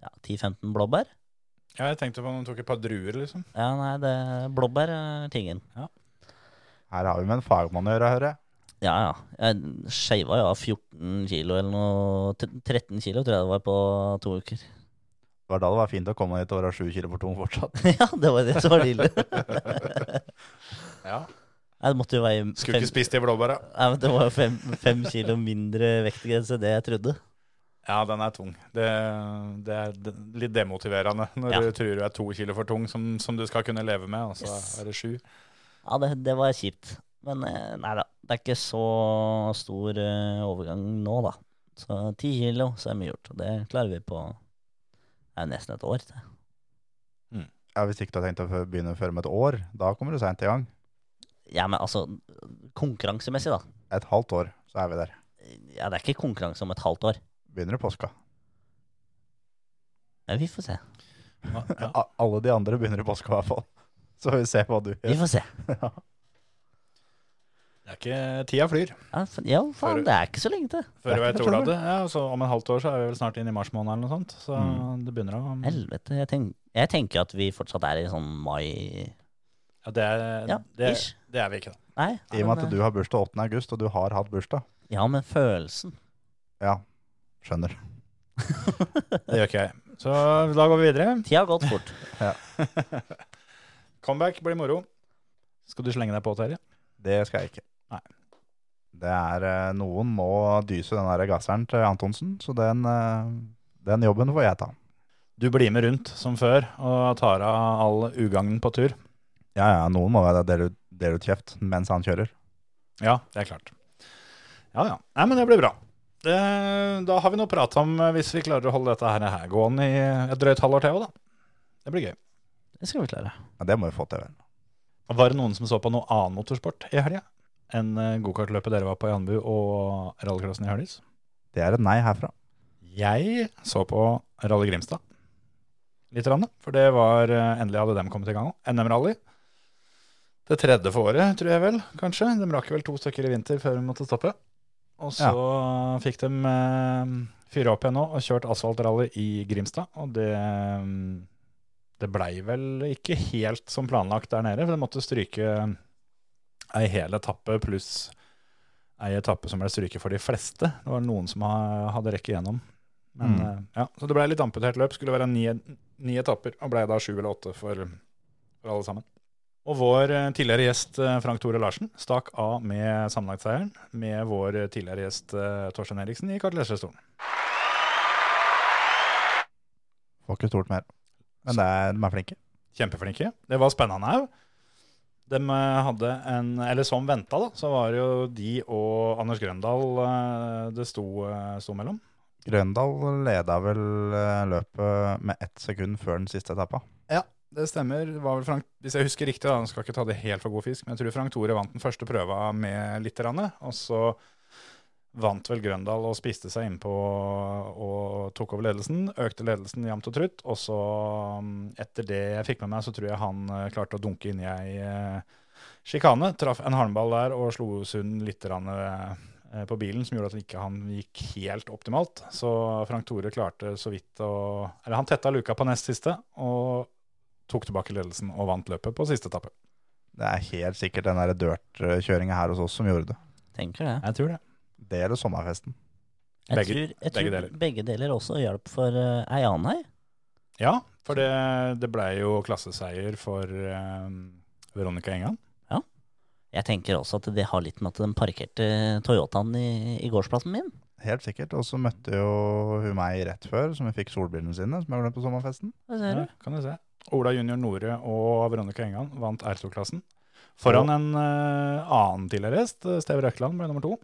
ja, 10-15 blåbær. ja, jeg tenkte på om de tok et par druer, liksom. Ja, nei, det, blåbær er tingen. Her har vi med en fagmann å gjøre, hører jeg. Ja, ja. Jeg skeiva jo av 14 kilo eller noe. t- 13 kilo tror jeg det var på to uker. Det var da det var fint å komme dit og være sju kilo for tung fortsatt. ja, det var det som var det ille. Ja. Jeg måtte jo veie Skulle fem- ikke spist de blåbæra. Nei, men Det var jo fem, fem kilo mindre vektgrense enn det jeg trodde. Ja, den er tung. Det, det er d- litt demotiverende når Ja. du tror du er to kilo for tung, som, som du skal kunne leve med, og så Yes. er det sju. Ja, det, det var kjipt. Men eh, nei da, det er ikke så stor eh, overgang nå, da. Så ti kilo, så er mye gjort. Og det klarer vi på det er jo nesten et år. Det. Ja, Hvis ikke du har tenkt å fø- begynne før om et år, da kommer du seint i gang. Ja, men altså, konkurransemessig, da. Et halvt år, så er vi der. Ja, det er ikke konkurranse om et halvt år. Begynner i påska. Men vi får se. Ja, ja. A- Alle de andre begynner i påska, i hvert fall. Så vi ser hva du Vi gjør. får se. Det er ikke Tida flyr. Ja, fa- ja faen, Før- det er ikke så lenge til. Det er Før vi vet ikke ordet noe av det. Ja, og så om en halvt år så er vi vel snart inn i mars måned eller noe sånt. Så det begynner å Helvete. Jeg, tenk, jeg tenker at vi fortsatt er i sånn mai Ja, det er, Ja, det, ish. det er vi ikke, da. Nei. I og med eh. at du har bursdag 8. august, og du har hatt bursdag. Ja, men følelsen. Ja, skjønner. Det gjør ikke jeg. Så da går vi videre. Tida har gått fort. Comeback blir moro. Skal du slenge deg på, Terje? Det skal jeg ikke. Nei. Det er eh, Noen må dyse den der gasseren til Antonsen, så den, eh, den jobben får jeg ta. Du blir med rundt som før og tar av all ugagnen på tur. Ja, ja, noen må være dele, ut- dele ut kjeft mens han kjører. Ja, det er klart. Ja, ja. Nei, men det blir bra. Det, da har vi noe å prate om eh, hvis vi klarer å holde dette her, her gående i et drøyt halvår til òg, da. Det blir gøy. Det skal vi klare. Ja, det må vi få til, vel. Var det noen som så på noe annen motorsport i helga enn eh, gokartløpet dere var på i Anbu og rallycrossen i Hølys? Det er et nei herfra. Jeg så på Rally Grimstad litt, grann, for det var eh, endelig hadde dem kommet i gang òg. NM Rally. Det tredje for året, tror jeg vel, kanskje. De rakk vel to stykker i vinter før de måtte stoppe. Og så fikk de eh, fyre opp igjen nå og kjørt asfaltrally i Grimstad. Og det, mm, det blei vel ikke helt som planlagt der nede, for de måtte stryke ei hel etappe pluss ei etappe som ble stryket for de fleste. Det var noen som ha- hadde rekke igjennom. Men, Mm. eh, ja, så det blei litt amputert løp. Skulle være ni, ni etapper, og blei da sju eller åtte for, for alle sammen. Og vår eh, tidligere gjest eh, Frank Tore Larsen stakk av med sammenlagtseieren med vår eh, tidligere gjest eh, Torstein Eriksen i kartleserstolen. Får ikke stort mer. Men det er, de er flinke. Kjempeflinke. Det var spennende òg. De eh, hadde en Eller som venta, da, så var det jo de og Anders Grøndal eh, det sto, eh, sto mellom. Grøndal leda vel eh, løpet med ett sekund før den siste etappa. Det stemmer. Det Var vel Frank, hvis jeg husker riktig, da, han skal ikke ta det helt for god fisk, men jeg tror Frank Tore vant den første prøva med litt, grann, og så vant vel Grøndal og spiste seg innpå og tok over ledelsen. Økte ledelsen jevnt og trutt, og så mm, etter det jeg fikk med meg, så tror jeg han eh, klarte å dunke inn i ei eh, sjikane. Traff en halmball der og slo Sund litt grann, eh, på bilen, som gjorde at ikke han gikk helt optimalt. Så Frank Tore klarte så vidt å Eller han tetta luka på nest siste. og tok tilbake ledelsen og vant løpet på siste etappe. Det er helt sikkert den der dirt-kjøringa her hos oss som gjorde det. Tenker det. Jeg tror det. Det eller sommerfesten. Jeg Begge- tror, jeg begge tror deler. eh, begge deler også hjalp for uh, ei annen her. Ja, For det, det blei jo klasseseier for eh, Veronica Engan. Jeg tenker også at det har litt med at den parkerte Toyotaen i, i gårdsplassen min. Helt sikkert. Og så møtte jo hun meg rett før, som hun fikk solbrillene sine, som jeg glemte på sommerfesten. Det ser Ja, du. kan du se. Ola junior Nore og Veronica Engan vant R2-klassen. Foran en eh, annen tidligere hest, eh, Steve Røkland, ble nummer to.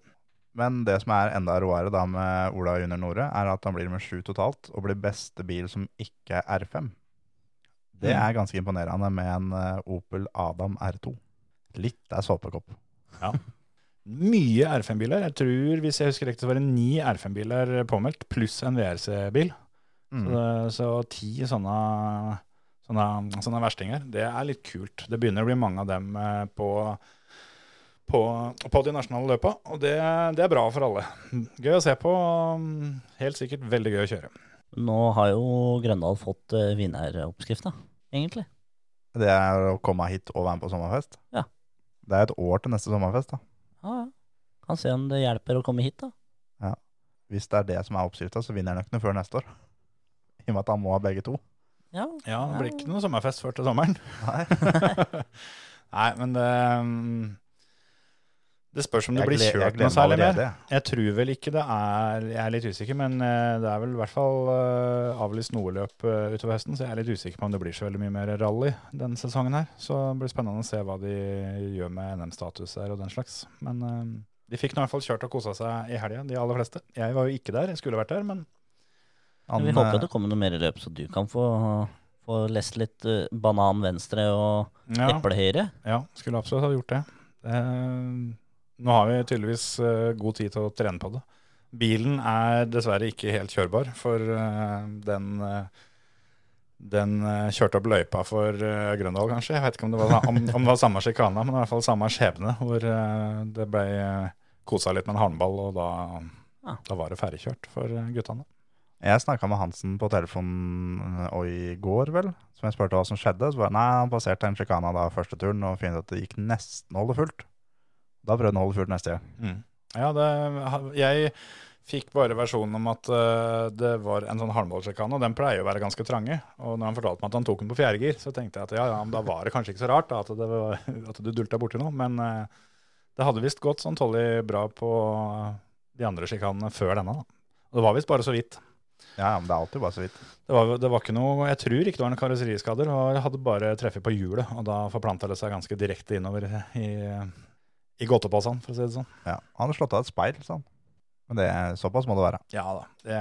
Men det som er enda råere da med Ola Junior Nore, er at han blir med sju totalt, og blir beste bil som ikke er R5. Det Mm. er ganske imponerende med en eh, Opel Adam R2. Litt er såpekopp. Mye R5-biler. Jeg tror, hvis jeg husker riktig, så var det ni R5-biler påmeldt, pluss en VRC-bil. Så, Mm. det- så ti sånne, sånne, sånne verstinger, det er litt kult. Det begynner å bli mange av dem eh, på, på, på de nasjonale løpa, og det, det er bra for alle. Gøy å se på, og helt sikkert veldig gøy å kjøre. Nå har jo Grøndal fått uh, vinneroppskrifta, egentlig. Det er å komme hit og være med på sommerfest. Ja. Det er et år til neste sommerfest, da. Ja, ja. Kan se om det hjelper å komme hit, da. Hvis det er det som er oppskrifta, så vinner han ikke noe før neste år. I og med at han må ha begge to. Ja, Ja, det blir ikke noe sommerfest før til sommeren. Nei. Nei, men det, det spørs om det Jeg blir gled- jeg kjørt gleder noe meg særlig mer. allerede, jeg. Jeg tror vel ikke det er Jeg er litt usikker, men eh, det er vel i hvert fall eh, avlyst noe løp eh, utover høsten, så jeg er litt usikker på om det blir så veldig mye mer rally denne sesongen her. Så det blir spennende å se hva de gjør med NM-status her og den slags. Men eh, de fikk nå i hvert fall kjørt og kosa seg i helga, de aller fleste. Jeg var jo ikke der, jeg skulle vært der, men Han, Men vi håper eh, at det kommer noe mer i løpet, så du kan få, få lest litt eh, banan venstre og ja. eple høyre. Ja, skulle absolutt ha gjort det. Eh, nå har vi tydeligvis eh, god tid til å trene på det. Bilen er dessverre ikke helt kjørbar, for eh, den, eh, den eh, kjørte opp løypa for eh, Grøndal, kanskje. Jeg vet ikke om det var, sa- om, om det var samme sjikana, men i hvert fall samme skjebne, hvor eh, det ble eh, kosa litt med en halmball, og da, Ja. da var det ferdigkjørt for eh, guttene. Jeg snakka med Hansen på telefonen eh, og i går, vel. Som jeg spurte hva som skjedde. Så bare, nei, han passerte en sjikana da første turen og finner ut at det gikk nesten å holde fullt. Da prøvde han å holde fullt neste gang. Ja, det, jeg fikk bare versjonen om at eh, det var en sånn halmballsjekane, og den pleier jo å være ganske trange. Og når han fortalte meg at han tok den på fjerde gir, så tenkte jeg at ja, ja, men da var det kanskje ikke så rart da, at, det var, at du dulta borti noe. Men eh, det hadde visst gått sånn tålelig bra på de andre sjikanene før denne. da. Og det var visst bare så vidt. Ja, ja, men det er alltid bare så vidt. Det var, det var ikke noe, Jeg tror ikke det var noen karosseriskader. og Jeg hadde bare treffet på hjulet, og da forplanta det seg ganske direkte innover i, i godtepåsen, for å si det sånn. Ja. Han hadde slått av et speil, sa han. Men det, såpass må det være. Ja da, det,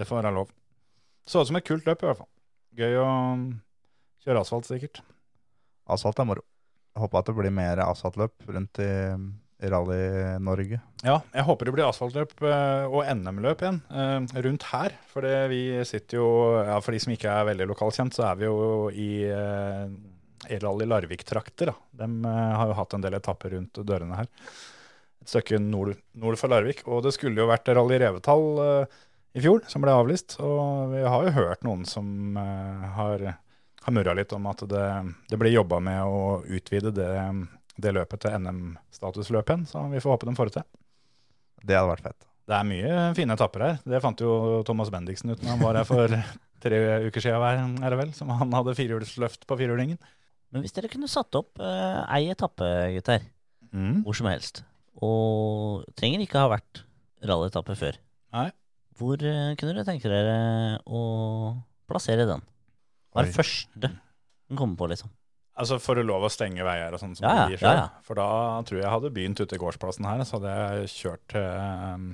det får være lov. Så ut som et kult løp i hvert fall. Gøy å mm, kjøre asfalt sikkert. Asfalt er moro. Jeg Håper at det blir mer asfaltløp rundt i, i Rally-Norge. Ja, jeg håper det blir asfaltløp eh, og NM-løp igjen eh, rundt her. For det- vi sitter jo, ja, for de som ikke er veldig lokalkjent, så er vi jo i eh, E-rally Larvik-trakter. da. De eh, har jo hatt en del etapper rundt dørene her. Et stykke nord, nord for Larvik. Og det skulle jo vært rally Revetal eh, i fjor, som ble avlyst. Og vi har jo hørt noen som eh, har, har murra litt om at det, det blir jobba med å utvide det, det løpet til NM-statusløp igjen, så vi får håpe de får det til. Det hadde vært fett. Det er mye fine etapper her. Det fant jo Thomas Bendiksen ut når han var her for tre uker siden, hver- er det vel, som han hadde firehjulsløft på firehjulingen. Men hvis dere kunne satt opp eh, ei etappe, gutter, hvor som helst, og trenger ikke ha vært rallyetappe før, Nei. hvor eh, kunne dere tenke dere å plassere den? Hva er Oi. det første den kommer på, liksom? Altså For å lov å stenge veier og sånn som Ja, ja, de gjør ja, ja. For da tror jeg jeg hadde begynt ute i gårdsplassen her, så hadde jeg kjørt til eh,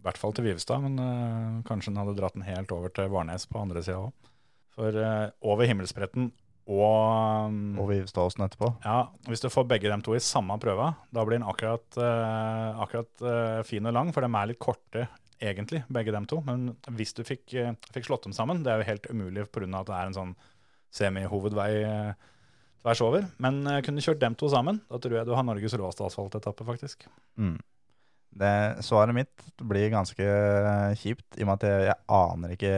i hvert fall til Vivestad, men eh, kanskje den hadde dratt den helt over til Varnes på andre sida òg. For eh, over himmelspretten og ehm, Og vi står oss etterpå. Ja, hvis du får begge dem to i samme prøva, da blir den akkurat, eh, akkurat eh, fin og lang, for de er litt korte egentlig, begge dem to. Men hvis du fikk, eh, fikk slått dem sammen, det er jo helt umulig pga. at det er en sånn semihovedvei eh, tvers over. Men eh, kunne du kjørt dem to sammen, da tror jeg du har Norges råeste asfaltetappe, faktisk. Mm. Det, svaret mitt blir ganske kjipt, i og med at jeg, jeg aner ikke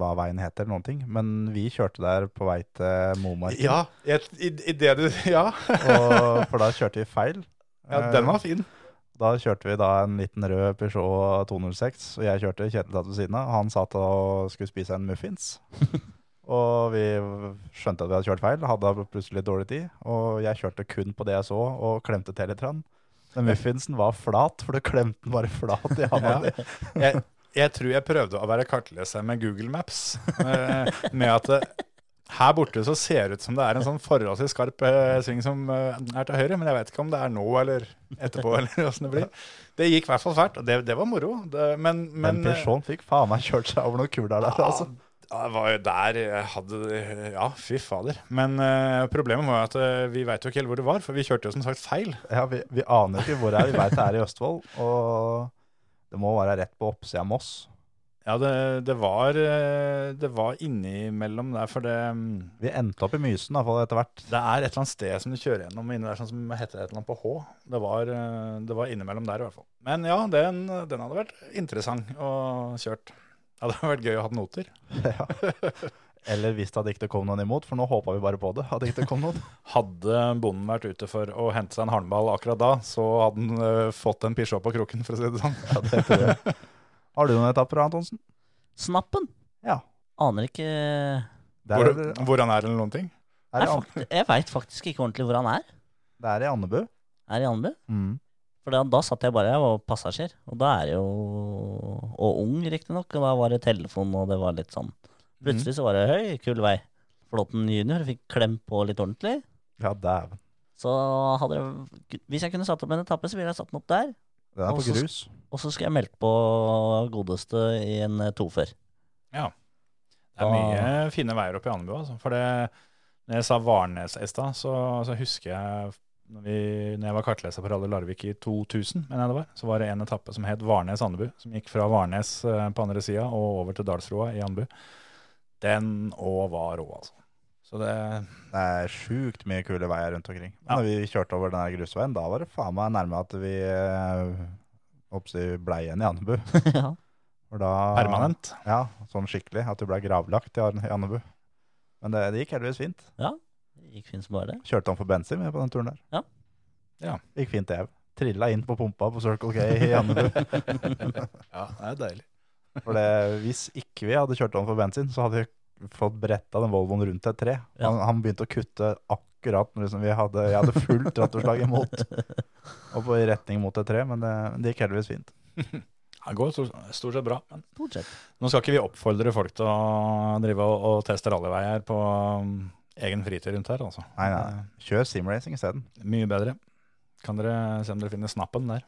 hva veien heter. eller noen ting, Men vi kjørte der på vei til Momarken, i, det du Ja, og, for da kjørte vi feil. fin. Da kjørte vi da en liten rød Peugeot 206, og jeg kjørte Kjetil satt ved siden av. og Han satt og skulle spise en muffins. Og vi skjønte at vi hadde kjørt feil, hadde da plutselig dårlig tid. Og jeg kjørte kun på det jeg så, og klemte til litt. grann. Den muffinsen var flat, for du klemte den bare flat i handa Ja. di. Jeg, jeg tror jeg prøvde å være kartleser med Google Maps. eh, Med at det, her borte så ser det ut som det er en sånn forholdsvis skarp eh, sving som eh, er til høyre, men jeg vet ikke om det er nå eller etterpå eller åssen det blir. Det gikk i hvert fall fælt, og det, det var moro. Det, men Men men eh, Peugeot fikk faen meg kjørt seg over noen kuler der, altså. ja, det var jo der jeg hadde Ja, fy fader. Men eh, problemet var jo at eh, vi veit jo ikke helt hvor det var, for vi kjørte jo som sagt feil. Ja, vi, vi aner ikke hvor det er. Vi veit det er i Østfold. Og det må være rett på oppsida av Moss. Ja, det, det var eh, Det var innimellom der, for det mm, Vi endte opp i Mysen i hvert fall etter hvert. Det er et eller annet sted som du kjører gjennom inni der, sånn som heter et eller annet på H. Det var, eh, det var innimellom der i hvert fall. Men ja, den, den hadde vært interessant å kjørt. Ja, det hadde vært gøy å ha noter. Eller hvis det hadde ikke kom noen imot, for nå håpa vi bare på det. Hadde ikke det kom noen. Hadde bonden vært ute for å hente seg en halmball akkurat da, så hadde han eh, fått en pisjå på kroken, for å si det sånn. Ja, det tror jeg. Har du noen etapper, Antonsen? Snappen! Ja. Aner ikke jeg, Det Hvor, er, det hvor han er eller noen ting. er, i An- fakt- jeg veit faktisk ikke ordentlig hvor han er. det er i Andebu. Er i Andebu. Mm. For da, da satt jeg bare jeg var passasjer, og da er det jo Og ung, riktignok, og da var det telefon, og det var litt sånn. Plutselig så var det høy, kul vei. Flåten junior fikk klem på litt ordentlig. Ja, dæven. Så hadde det Hvis jeg kunne satt opp en etappe, så ville jeg satt den opp der. Den er Og på så- grus. Og så skulle jeg meldt på godeste i en tofer. Det er mye fine veier oppe i Andebu, altså. For det, når jeg sa Varnes i stad, så, så husker jeg når, vi, når jeg var kartleser på Radio Larvik i 2000, mener jeg det var, så var det en etappe som het Varnes-Andebu, som gikk fra Varnes eh, på andre sida og over til Dalsroa i Andebu. Den òg var rå, altså. Så det Det er sjukt mye kule veier rundt omkring. Men Ja. når vi kjørte over den der grusveien, da var det faen meg nærme at vi eh, oppsi, blei igjen i Andebu. ja. For da- permanent. Ja, sånn skikkelig. At du ble gravlagt i Arne- i Andebu. Men det, det gikk heldigvis fint. Det gikk fint som bare det. Kjørte han for bensin med på den turen der. Ja. Ja. Gikk fint, det. Trilla inn på pumpa på Circle K i Andebu. Ja, det er deilig. For det, hvis ikke vi hadde kjørt han for bensin, så hadde vi fått bretta den Volvoen rundt et tre. Ja. Han, han begynte å kutte akkurat når liksom, vi hadde, jeg hadde fullt rattoslag imot. Og på i retning mot et tre, men det, det gikk heldigvis fint. Det går stort stort sett bra. Men Stort sett. nå skal ikke vi oppfordre folk til å drive og, og teste rallyveier på um, egen fritid rundt her, altså. Nei, nei. Kjør simracing isteden. Mye bedre. Kan dere se om dere finner snappen der?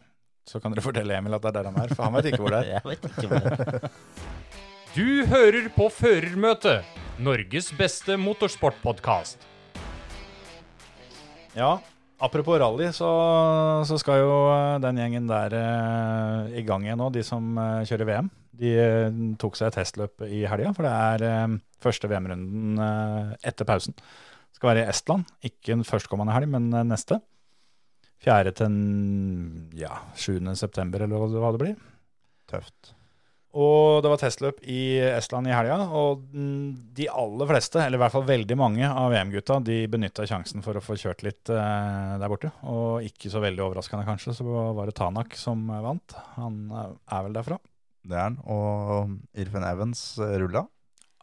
Så kan dere fortelle Emil at det er der han er, for han vet ikke hvor det er. Jeg vet ikke hvor det er. Du hører på Førermøtet, Norges beste motorsportpodkast. Ja, apropos rally, så, så skal jo eh, den gjengen der eh, i gang igjen nå, de som eh, kjører VM. De eh, tok seg et testløp i helga, for det er eh, første VM-runden eh, etter pausen. Skal være i Estland, ikke den førstkommende helg, men eh, neste. 4. til n- ja, 7. september, eller hva det- hva det blir. Tøft. Og det var testløp i Estland i helga, og mm, de aller fleste, eller i hvert fall veldig mange av VM-gutta, de benytta sjansen for å få kjørt litt eh, der borte. Og ikke så veldig overraskende kanskje, så var det Tanak som eh, vant. Han eh, er vel derfra. Det er han. Og Irfan Evans eh, rulla.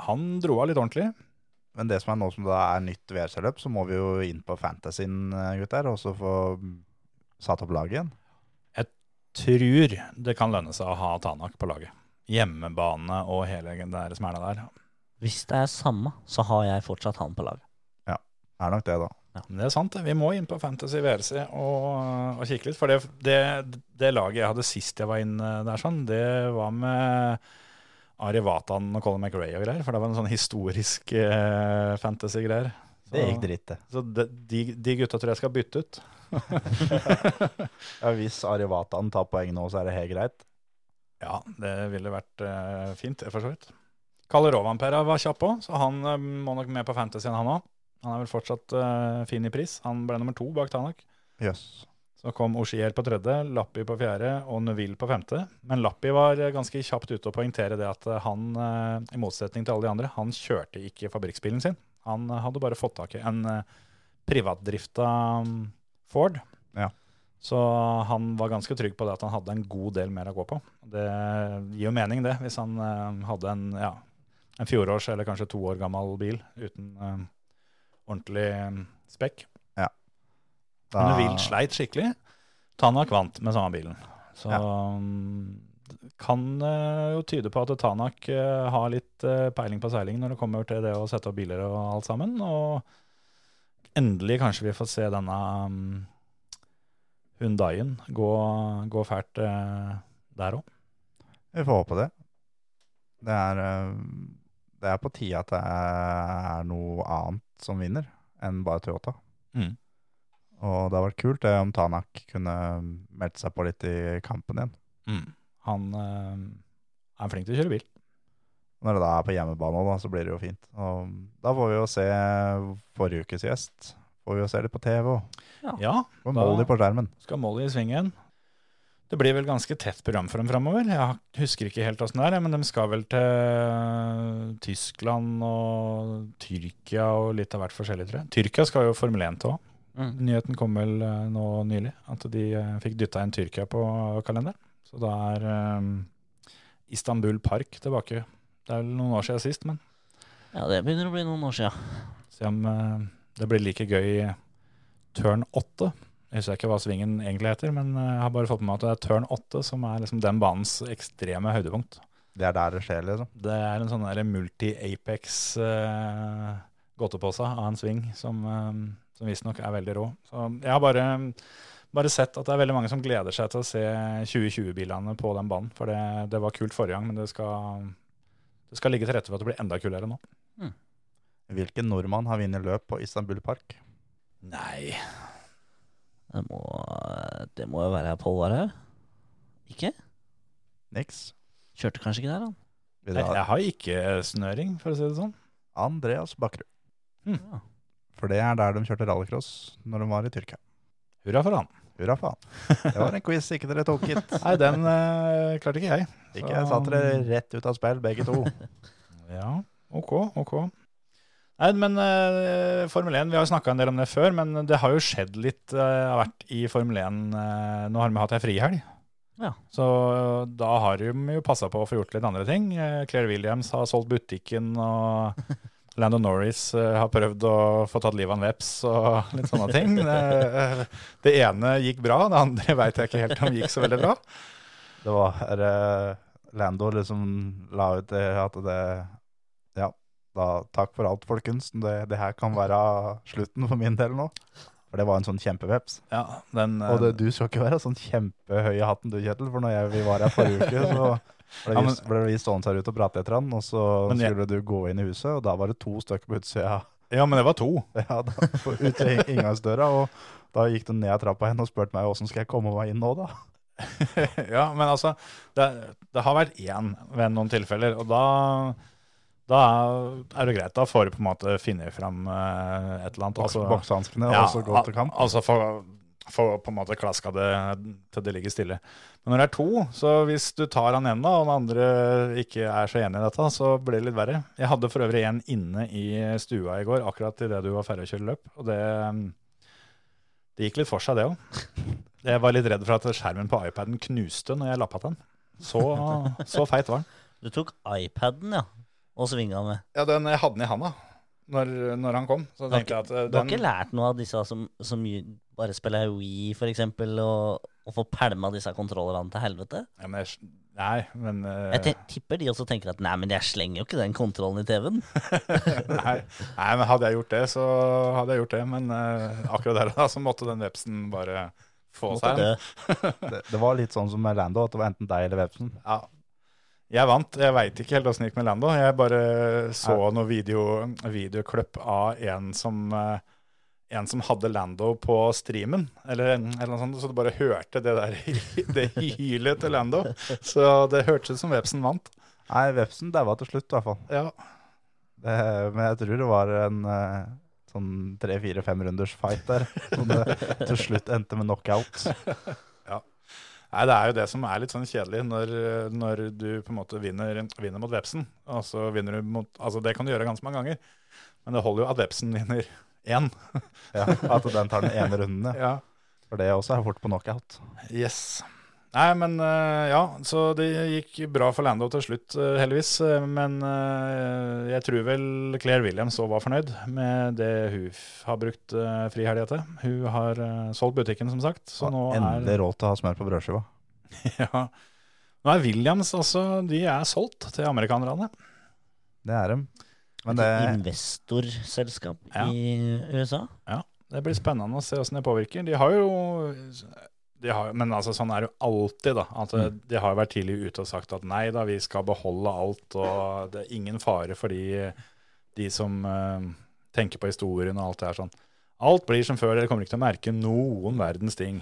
Han dro av litt ordentlig. Men det som er nå som det er nytt VRC-løp, så må vi jo inn på fantasyen, eh, gutter, og så få satt opp laget igjen. Tror det kan lønne seg å ha Tanak på laget. Hjemmebane og hele den der smæla der. Hvis det er samme, så har jeg fortsatt han på lag. Er nok det, da. Men Det er sant. det. Vi må inn på Fantasy VRC og, og kikke litt. For det, det, det laget jeg hadde sist jeg var inne der, sånn, det var med Ari Vatan og Colin McRae og greier. For det var en sånn historisk eh, fantasy-greier. Så- Det gikk dritt, det. Så de, de, de gutta tror jeg skal bytte ut. Ja, hvis Arivatan tar poeng nå, så er det helt greit. Ja, det ville vært eh, fint, det, for så vidt. Kalle Rovanpera var kjapp òg, så han eh, må nok med på Fantasyen, han òg. Han er vel fortsatt eh, fin i pris. Han ble nummer to bak Tanak. Jøss. Så kom Oshier på tredje, Lappi på fjerde og Neville på femte. Men Lappi var eh, ganske kjapt ute og poengtere det at han, eh, i motsetning til alle de andre, han kjørte ikke fabrikksbilen sin. Han eh, hadde bare fått tak i en eh, privatdrifta mm, Ford. Ja. Så han var ganske trygg på det at han hadde en god del mer å gå på. Det gir jo mening det, hvis han eh, hadde en ja, en fjorårs eller kanskje to år gammel bil uten eh, ordentlig eh, spekk. Da- Men Wild sleit skikkelig. Tana kvant med samme bilen. Så um, kan eh, jo tyde på at Tanak eh, har litt eh, peiling på seiling når det kommer til det å sette opp biler og alt sammen. Og endelig kanskje vi får se denne um, Hundaien gå, gå fælt eh, der òg. Vi får håpe det. Det er, eh, det er på tide at det er noe annet som vinner enn bare Toyota. Mm. Og det hadde vært kult det om Tanak kunne melde seg på litt i kampen igjen. Han eh, er flink til å kjøre bil. Når det da er på hjemmebane, også da, så blir det jo fint. Og da får vi jo se forrige ukes gjest. Får vi jo se litt på TV og Ja, få Da- Molly på skjermen. skal Molly i svingen. Det blir vel ganske tett program for dem framover. Jeg har- husker ikke helt åssen det er, men de skal vel til Tyskland og Tyrkia og litt av hvert forskjellig, tror jeg. Tyrkia skal jo Formel 1 til òg. Mm. Nyheten kom vel eh, nå nylig at de eh, fikk dytta inn Tyrkia på kalenderen. Så da er eh, Istanbul Park tilbake. Det er vel noen år siden sist, men Ja, det begynner å bli noen år sia. se om eh, det blir like gøy i turn 8. Jeg husker ikke hva svingen egentlig heter, men eh, jeg har bare fått med meg at det er turn 8 som er liksom den banens ekstreme høydepunkt. Det er der det skjer, liksom. Det er en sånn der multi-apex eh, godtepose av en sving som, eh, som visstnok er veldig rå. Så jeg har bare, bare sett at det er veldig mange som gleder seg til å se 2020-bilene på den banen. For det, det var kult forrige gang, men det skal, det skal ligge til rette for at det blir enda kulere nå. Hvilken nordmann har vunnet løp på Istanbul Park? Nei, Det må, det må jo være Pål Warhaug. Ikke? Niks. Kjørte kanskje ikke der, han. Vi jeg, drar jeg har ikke snøring, for å si det sånn. Andreas Bakkerud. Hmm. Ja. For det er der de kjørte rallycross når de var i Tyrkia. Hurra for han. Hurra faen. Det var en quiz ikke dere tok, gitt. Nei, den eh, klarte ikke jeg. Ikke jeg satte dere rett ut av spill, begge to. Ja, ok, ok. Nei, men eh, Formel 1, vi har jo snakka en del om det før, men det har jo skjedd litt eh, av hvert i Formel 1. eh, nå har de hatt ei frihelg. Ja. Så da har de jo passa på å få gjort litt andre ting. Eh, Claire Williams har solgt butikken, og Lando Norris eh, har prøvd å få tatt livet av en veps og litt sånne ting. Eh, det ene gikk bra, det andre veit jeg ikke helt om gikk så veldig bra. Det var eh, Lando liksom la ut det at det Ja, da, takk for alt, folkens. Det, det her kan være slutten for min del nå. For det var en sånn kjempeveps. Ja, den, eh, Og det, du skal ikke være sånn kjempehøy i hatten du, Kjetil, for når jeg, vi var her forrige uke, så ble Ja, vi, men- ble vi stående her ute og prate etter han, og så Men jeg- skulle du gå inn i huset, og da var det to stykker på utsida. eh, ja, men det var to. Ja, da, på- ut til inngangsdøra, og da gikk du ned trappa igjen og spurte meg åssen skal jeg komme meg inn nå, da. ja, men altså, det, det har vært én ved noen tilfeller, og da, da er det greit. Da får du på en måte finne fram eh, et eller annet. Altså, altså- Boksehanskene og så gå til kamp. al- Altså få få på en måte klaska det til det ligger stille. Men når det er to, så hvis du tar han ene, og den andre ikke er så enig i dette, så blir det litt verre. Jeg hadde for øvrig en inne i stua i går, akkurat idet du var ferdig å kjøre løp. Og det, det gikk litt for seg, det òg. Jeg var litt redd for at skjermen på iPaden knuste når jeg lappa den. Så, så feit var den. Du tok iPaden, ja, og svinga med. Ja, den jeg hadde den i handa når, når han kom. Så Du har ikke, tenkte jeg at eh, du har ikke den lært noe av disse som, som ju- bare spiller Wii, for eksempel, og, og får pælma disse kontrollerne til helvete? ja, men jeg, Nei, men eh, Jeg te- tipper de også tenker at nei, men jeg slenger jo ikke den kontrollen i TV-en. Nei, nei, men hadde jeg gjort det, så hadde jeg gjort det. Men eh, akkurat der og da så måtte den vepsen bare få Måtte seg dø. en. Det, det var litt sånn som med Lando, at det var enten deg eller vepsen. Ja. Jeg vant. Jeg veit ikke helt åssen det gikk med Lando. Jeg bare så noe video, videoklipp av en som eh, en som hadde Lando på streamen, eller, eller noe sånt, så du bare hørte det der det hylet til Lando. Så det hørtes ut som vepsen vant. Nei, vepsen daua til slutt, i hvert fall. Ja. Det, men jeg tror det var en eh, sånn tre-fire-fem runders fight der, som det til slutt endte med knockout. Nei, det er jo det som er litt sånn kjedelig når, når du på en måte vinner, vinner mot vepsen. Og så vinner du mot, altså det kan du gjøre ganske mange ganger, men det holder jo at vepsen vinner én. Ja, at den tar den ene runden, ja. Ja. For det også er fort på knockout. Yes. Nei, men eh, ja, så det gikk bra for Lando til slutt, eh, heldigvis. eh, Men eh, jeg tror vel Claire Williams òg var fornøyd med det hun f- har brukt uh, frihelga til. Hun har eh, solgt butikken, som sagt. Så nå er, Endelig råd til å ha smør på brødskiva. ja, nå er Williams også De er solgt til amerikanerne. Det er dem. Men det, Et investorselskap Ja. i USA. Det blir spennende å se åssen det påvirker. De har jo de har, Men altså, sånn er det jo alltid, da. At eh, De har jo vært tidlig ute og sagt at nei da, vi skal beholde alt, og det er ingen fare for de, de som eh, tenker på historien og alt det her sånn. Alt blir som før, dere kommer ikke til å merke noen verdens ting.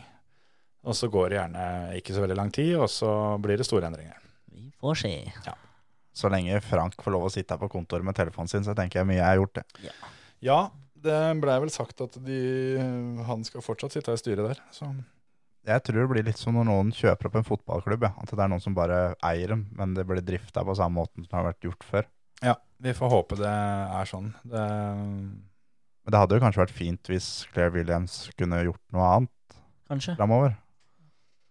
Og så går det gjerne ikke så veldig lang tid, og så blir det store endringer. Vi får se. så lenge Frank får lov å sitte her på kontoret med telefonen sin, så tenker jeg mye er gjort, det. Ja, det blei vel sagt at de, han skal fortsatt sitte i styret der. Så. Jeg tror det blir litt som når noen kjøper opp en fotballklubb. Ja. At det er noen som bare eier dem, men det blir drifta på samme måten som det har vært gjort før. Ja, vi får håpe det er sånn. Det Men det hadde jo kanskje vært fint hvis Claire Williams kunne gjort noe annet Kanskje. framover.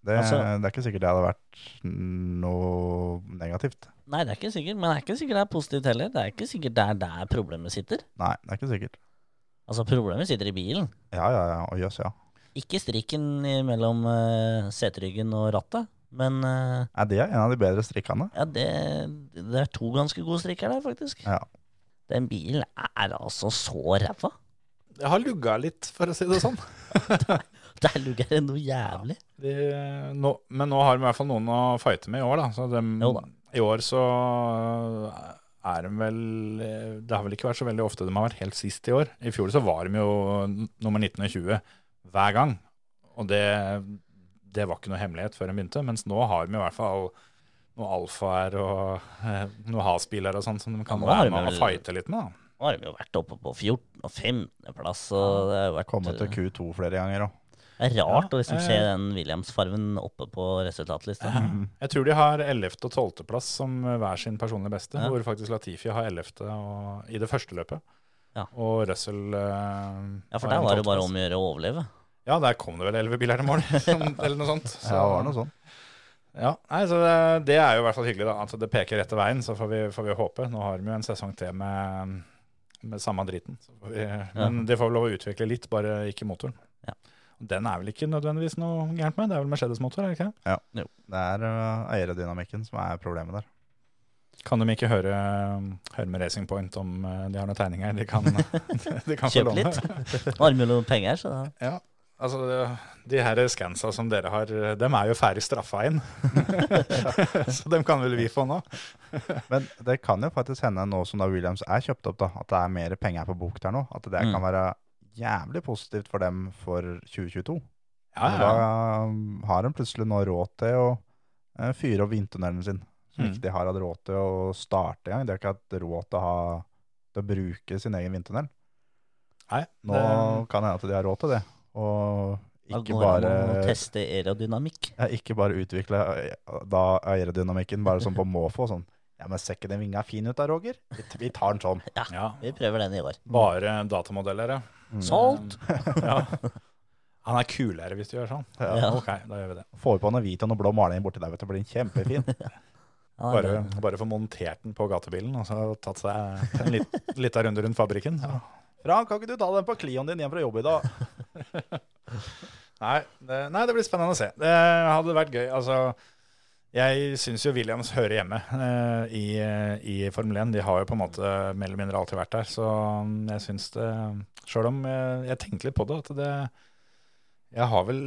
Det, Altså- det er ikke sikkert det hadde vært noe negativt. Nei, det er ikke sikkert. Men det er ikke sikkert det er positivt heller. Det er ikke sikkert det er der problemet sitter. Nei, det er ikke sikkert. Altså, problemet sitter i bilen. Ja, ja, ja. Og jøss, ja. Ikke strikken i- mellom eh, seteryggen og rattet, men eh, Er det en av de bedre strikkene? ja, det, det er to ganske gode strikker der, faktisk. Ja. Den bilen er altså så ræva. Jeg har lugga litt, for å si det sånn. Der lugger det noe jævlig. De, nå, men nå har de i hvert fall noen å fighte med i år, da. Så dem- Jo da. I år så eh, er de vel eh, Det har vel ikke vært så veldig ofte de har vært helt sist i år. I fjor så var de jo nummer 19 og 20 hver gang. Og det, det var ikke noe hemmelighet før de begynte. Mens nå har de i hvert fall noen alfaer og eh, noen has-biler og sånn som de kan Ja, nå har være de med og vel- fighte litt med. da. Nå har de jo vært oppe på 14. og 15. plass, og det har jo vært Kommet til Q2 flere ganger òg. Det er Ja, rart å liksom eh. se den Williams-farven oppe på resultatlista. Jeg tror de har 11. og 12. plass som eh, hver sin personlige beste, Ja. hvor faktisk Latifi har 11. Og, i det første løpet. Ja. Og Russell eh, Ja, for har der en var det 12. bare plass. om å gjøre å overleve. Ja, der kom det vel 11 biler til mål, sånn, eller noe sånt. Så, Ja, det var noe sånt. ja. Nei, så det, det er jo i hvert fall hyggelig, da. At det peker rette veien, så får vi, får vi håpe. Nå har de jo en sesong til med, med samme driten. Så får vi, men de får vel lov å utvikle litt, bare ikke motoren. Ja. Den er vel ikke nødvendigvis noe gærent med? Det er vel Mercedes-motor, er det ikke? det? Det er øh, eierodynamikken som er problemet der. Kan de ikke høre, eh, høre med Racing Point om eh, de har noen tegninger de kan, de kan få Kjøp låne? litt. Nå har de jo noen penger, så da- Ja, altså det- De her scansa som dere har, dem er jo ferdig straffa inn. Så dem kan vel vi få nå? Men det kan jo faktisk hende nå som da Williams er kjøpt opp, da, at det er mer penger på bok der nå. At det Mm. kan være jævlig positivt for dem for 2022. Ja, Og ja. Da um, har de plutselig nå råd til å eh, fyre opp vindtunnelen sin. Som Mm. ikke de har hatt råd til å starte engang. De har ikke hatt råd til å, ha, til å bruke sin egen vindtunnel. Nei, Nå det- kan det hende at de har råd til det. Og da ikke går det bare, an å teste aerodynamikk. ja, ikke bare utvikle eh, da aerodynamikken bare sånn på måfå. Sånn. Ja, men ser ikke den vinga fin ut da, Roger? Vi vi tar den sånn. ja. Vi prøver den i år. Bare datamodeller, ja. Mm. Sånn. Solgt! ja. Han er kulere hvis du gjør sånn. Ja. Ok, da gjør vi det. Får vi på noe hvit og noe blå maling borti der, vet du, blir den kjempefin. Ja, Bare, det- bare få montert den på gatebilen og så tatt seg en lit, lita runde rundt fabrikken. Ja. Frank, kan ikke du ta den på Clioen din hjem fra jobb i dag? Nei det, nei, det blir spennende å se. Det hadde vært gøy. Altså, jeg syns jo Williams hører hjemme eh, i, i Formel 1. De har jo på en måte mer eller mindre alltid vært der. Så mm, jeg syns det Sjøl om jeg, jeg tenkte litt på det, at det Jeg har vel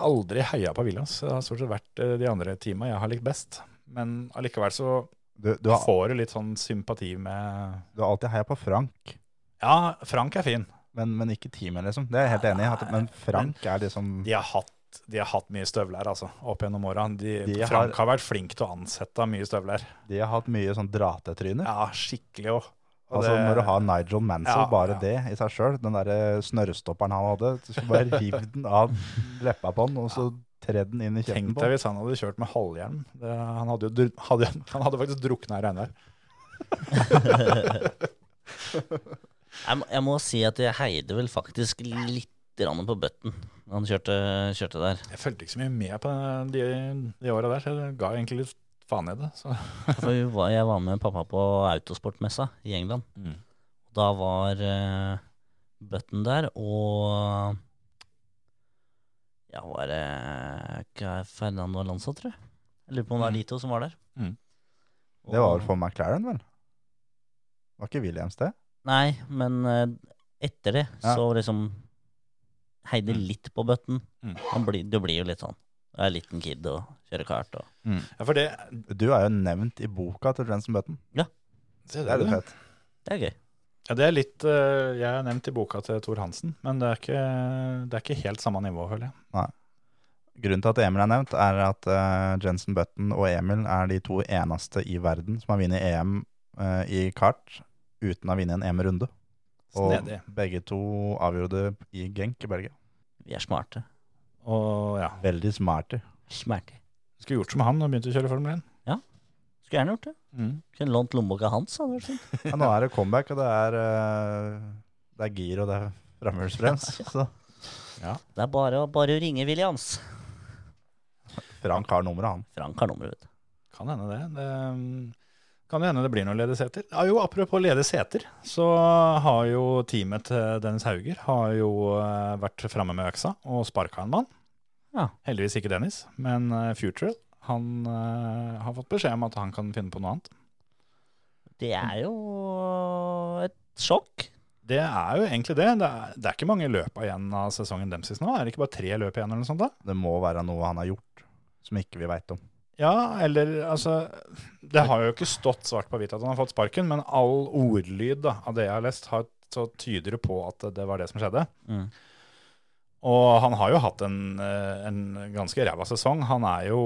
aldri heia på Williams. Det har stort sett vært eh, de andre teama jeg har likt best. Men allikevel så Du, du, har, får du litt sånn sympati med du har alltid heia på Frank. Ja, Frank er fin. Men, men ikke teamet, liksom. Det er jeg helt enig i. at- Men Frank er liksom De har hatt, de har hatt mye støvler, altså, opp gjennom åra. De har- Frank har vært flink til å ansette mye støvler. De har hatt mye sånn dratetryner. Ja, skikkelig òg. Altså Når du har Nigel Mansell, Ja, bare ja. det i seg sjøl, den derre snørrestopperen han hadde, så skulle bare rive den av leppa på han, og så tredd den inn i kjeften Tenk på deg han. hvis han hadde kjørt med halvhjelm. Det, han, hadde jo, dr- hadde, han hadde faktisk drukna i regnvær. Jeg, må- jeg må si at jeg heide vel faktisk litt grann på bøtten han kjørte, kjørte der. Jeg fulgte ikke så mye med på de, de åra der, så jeg ga egentlig litt faen i det. Så. For vi var, jeg var med pappa på autosportmessa i England. Mm. Da var eh, Button der, og Ja, var det ikke Fernando Alonso, tror jeg? Jeg lurer på om det var de to som var der. Mm. Det var Og- vel for McLaren, vel? Var ikke Williams det? Nei, men eh, etter det Ja. så liksom heide litt på bøtten. Mm. Han blir, du blir jo litt sånn. Du er en liten kid og kjører kart og Ja, for det, Du er jo nevnt i boka til Jensen Button. se Det er der, litt du. fett. Det er gøy. Ja, det er litt eh, Jeg er nevnt i boka til Thor Hansen, men det er ikke, det er ikke helt samme nivå, føler jeg. Grunnen til at Emil er nevnt, er at eh, Jensen Button og Emil er de to eneste i verden som har vunnet EM eh, i kart uten å ha vunnet en EM-runde. Og Snedig. begge to avgjorde det i Genk i Belgia. Vi er smarte. Og ja, Veldig smarte. Smerte. skulle gjort som han og begynt å kjøre Formel 1. Skulle gjerne gjort det. Mm. Kunne lånt lommeboka hans. hadde vært fint. Ja, nå er det comeback, og det er, eh, det er gir og det er framhjulsbrems. Så Det er bare, å- bare å ringe Williams. Frank har nummeret, han. Frank har nummeret, vet du. Kan hende det. det um, kan jo hende det blir noen ledige seter. Ja, jo, apropos ledige seter, så har jo teamet til Dennis Hauger har jo eh, vært framme med øksa og sparka en mann. Ja. Heldigvis ikke Dennis, men eh, Futural. Han eh, har fått beskjed om at han kan finne på noe annet. Det er jo et sjokk. Det er jo egentlig det. Det er, det er ikke mange løp igjen av sesongen Dempsys nå. Er det ikke bare tre løp igjen eller noe sånt? da? Det må være noe han har gjort som ikke vi veit om. Ja, eller altså Det har jo ikke stått svart på hvitt at han har fått sparken, men all ordlyd da, av det jeg har lest, har, så tyder det på at det var det som skjedde. Mm. Og han har jo hatt en, eh, en ganske ræva sesong. Han er jo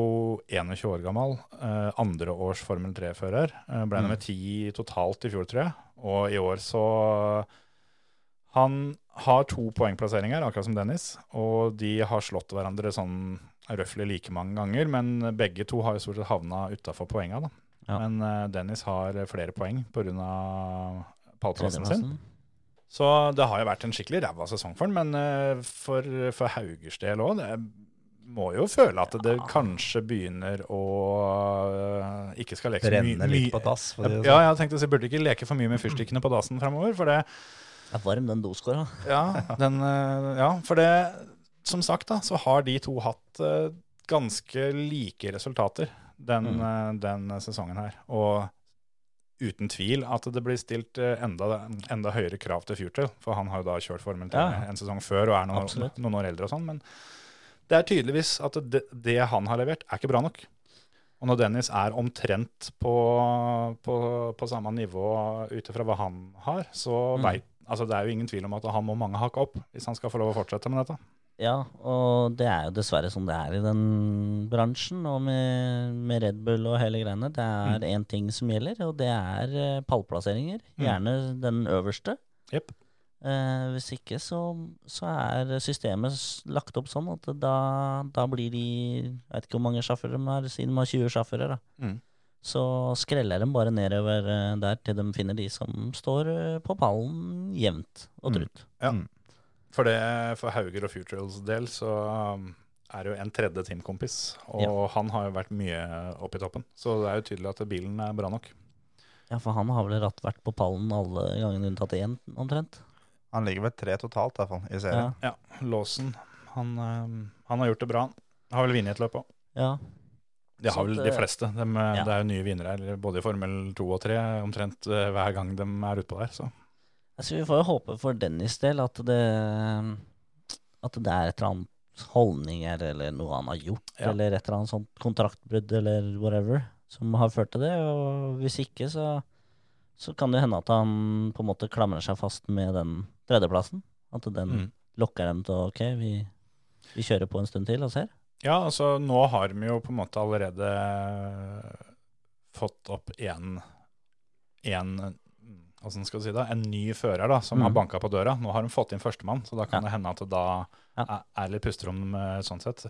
21 år gammel. eh, Andreårs Formel 3-fører. eh, Ble nummer 10 totalt i fjor, tror jeg. Og i år så Han har to poengplasseringer, akkurat som Dennis, og de har slått hverandre sånn røftlig like mange ganger, men begge to har jo stort sett havna utafor poenga, da. Ja. Men eh, Dennis har flere poeng pga. pallplassen sin. Tredjeplassen. Så det har jo vært en skikkelig ræva sesong for han, men eh, for, for Haugers del òg Det må jo føle at det kanskje begynner å eh, ikke skal leke så mye- Brenne litt mye- på dass. for å si det sånn. Ja, jeg tenkte å si, burde ikke leke for mye med fyrstikkene på dassen fremover, for det Det er varm, den doskåra. ja, den, eh, ja, for det Som sagt, da, så har de to hatt eh, ganske like resultater den, eh, den sesongen her. Og uten tvil at det blir stilt eh, enda, enda høyere krav til Future, for han har jo da kjørt Formel 3 Ja, ja. en sesong før og er noen, Absolutt. noen år eldre og sånn, men det er tydeligvis at det, det han har levert, er ikke bra nok. Og når Dennis er omtrent på, på, på samme nivå ut ifra hva han har, så Mm. vet, altså det er jo ingen tvil om at han må mange hakk opp hvis han skal få lov å fortsette med dette. Ja, og det er jo dessverre sånn det er i den bransjen, og med, med Red Bull og hele greiene. Det er én ting som gjelder, og det er eh, pallplasseringer. Mm. Gjerne den øverste. Jep. Eh, hvis ikke så, så er systemet s- lagt opp sånn at da, da blir de Jeg vet ikke hvor mange sjåfører de har, siden de har 20 sjåfører. da. Mm. Så skreller de bare nedover eh, der til de finner de som står eh, på pallen jevnt og Mm. trutt. For, det, for Hauger og Futurals del så um, er det jo en tredje teamkompis, og han har jo vært mye oppe i toppen. Så det er jo tydelig at bilen er bra nok. Ja, for han har vel ratt vært på pallen alle gangene unntatt én, omtrent. Han ligger vel tre totalt, i hvert fall, i Ja. serien. Ja, Lawson, han, um, han har gjort det bra. Han har vel vunnet et løp òg. ja. Det har Så vel at, de eh, fleste. De, ja. Det er jo nye vinnere her, både i Formel 2 og 3 omtrent eh, hver gang de er utpå der. Så. Altså, vi får jo håpe for Dennis del at det, at det er et eller annet holdninger eller noe han har gjort, Ja. eller et eller annet sånt kontraktbrudd eller whatever, som har ført til det. Og hvis ikke, så, så kan det hende at han på en måte klamrer seg fast med den tredjeplassen. At den Mm. lokker dem til OK, vi, vi kjører på en stund til og ser. Ja, altså nå har vi jo på en måte allerede eh, fått opp en, en hvordan skal du si det, en ny fører da, som Mm. har banka på døra. Nå har de fått inn førstemann, så da kan Ja. det hende at det da Ja. er, er litt pusterom eh, sånn sett.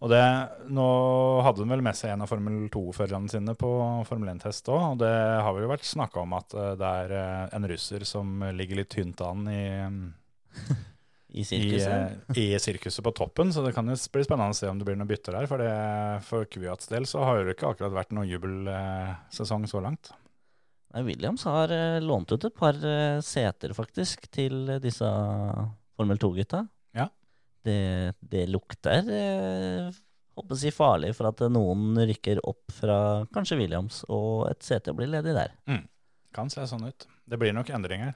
Og det, nå hadde de vel med seg en av Formel 2-førerne sine på Formel 1-test òg, og det har vel vært snakka om at eh, det er eh, en russer som ligger litt tynt an i, I i i, sirkuset. eh, i sirkuset på toppen, så det kan jo bli spennende å se om det blir noen bytter der. For, det, for Kvyats del så har det ikke akkurat vært noen jubelsesong så langt. Nei, Williams har eh, lånt ut et par eh, seter, faktisk, til eh, disse Formel 2-gutta. Ja. Det, det lukter eh, håper jeg, farlig for at eh, noen rykker opp fra kanskje Williams, og et sete blir ledig der. Kan se sånn ut. Det blir nok endringer.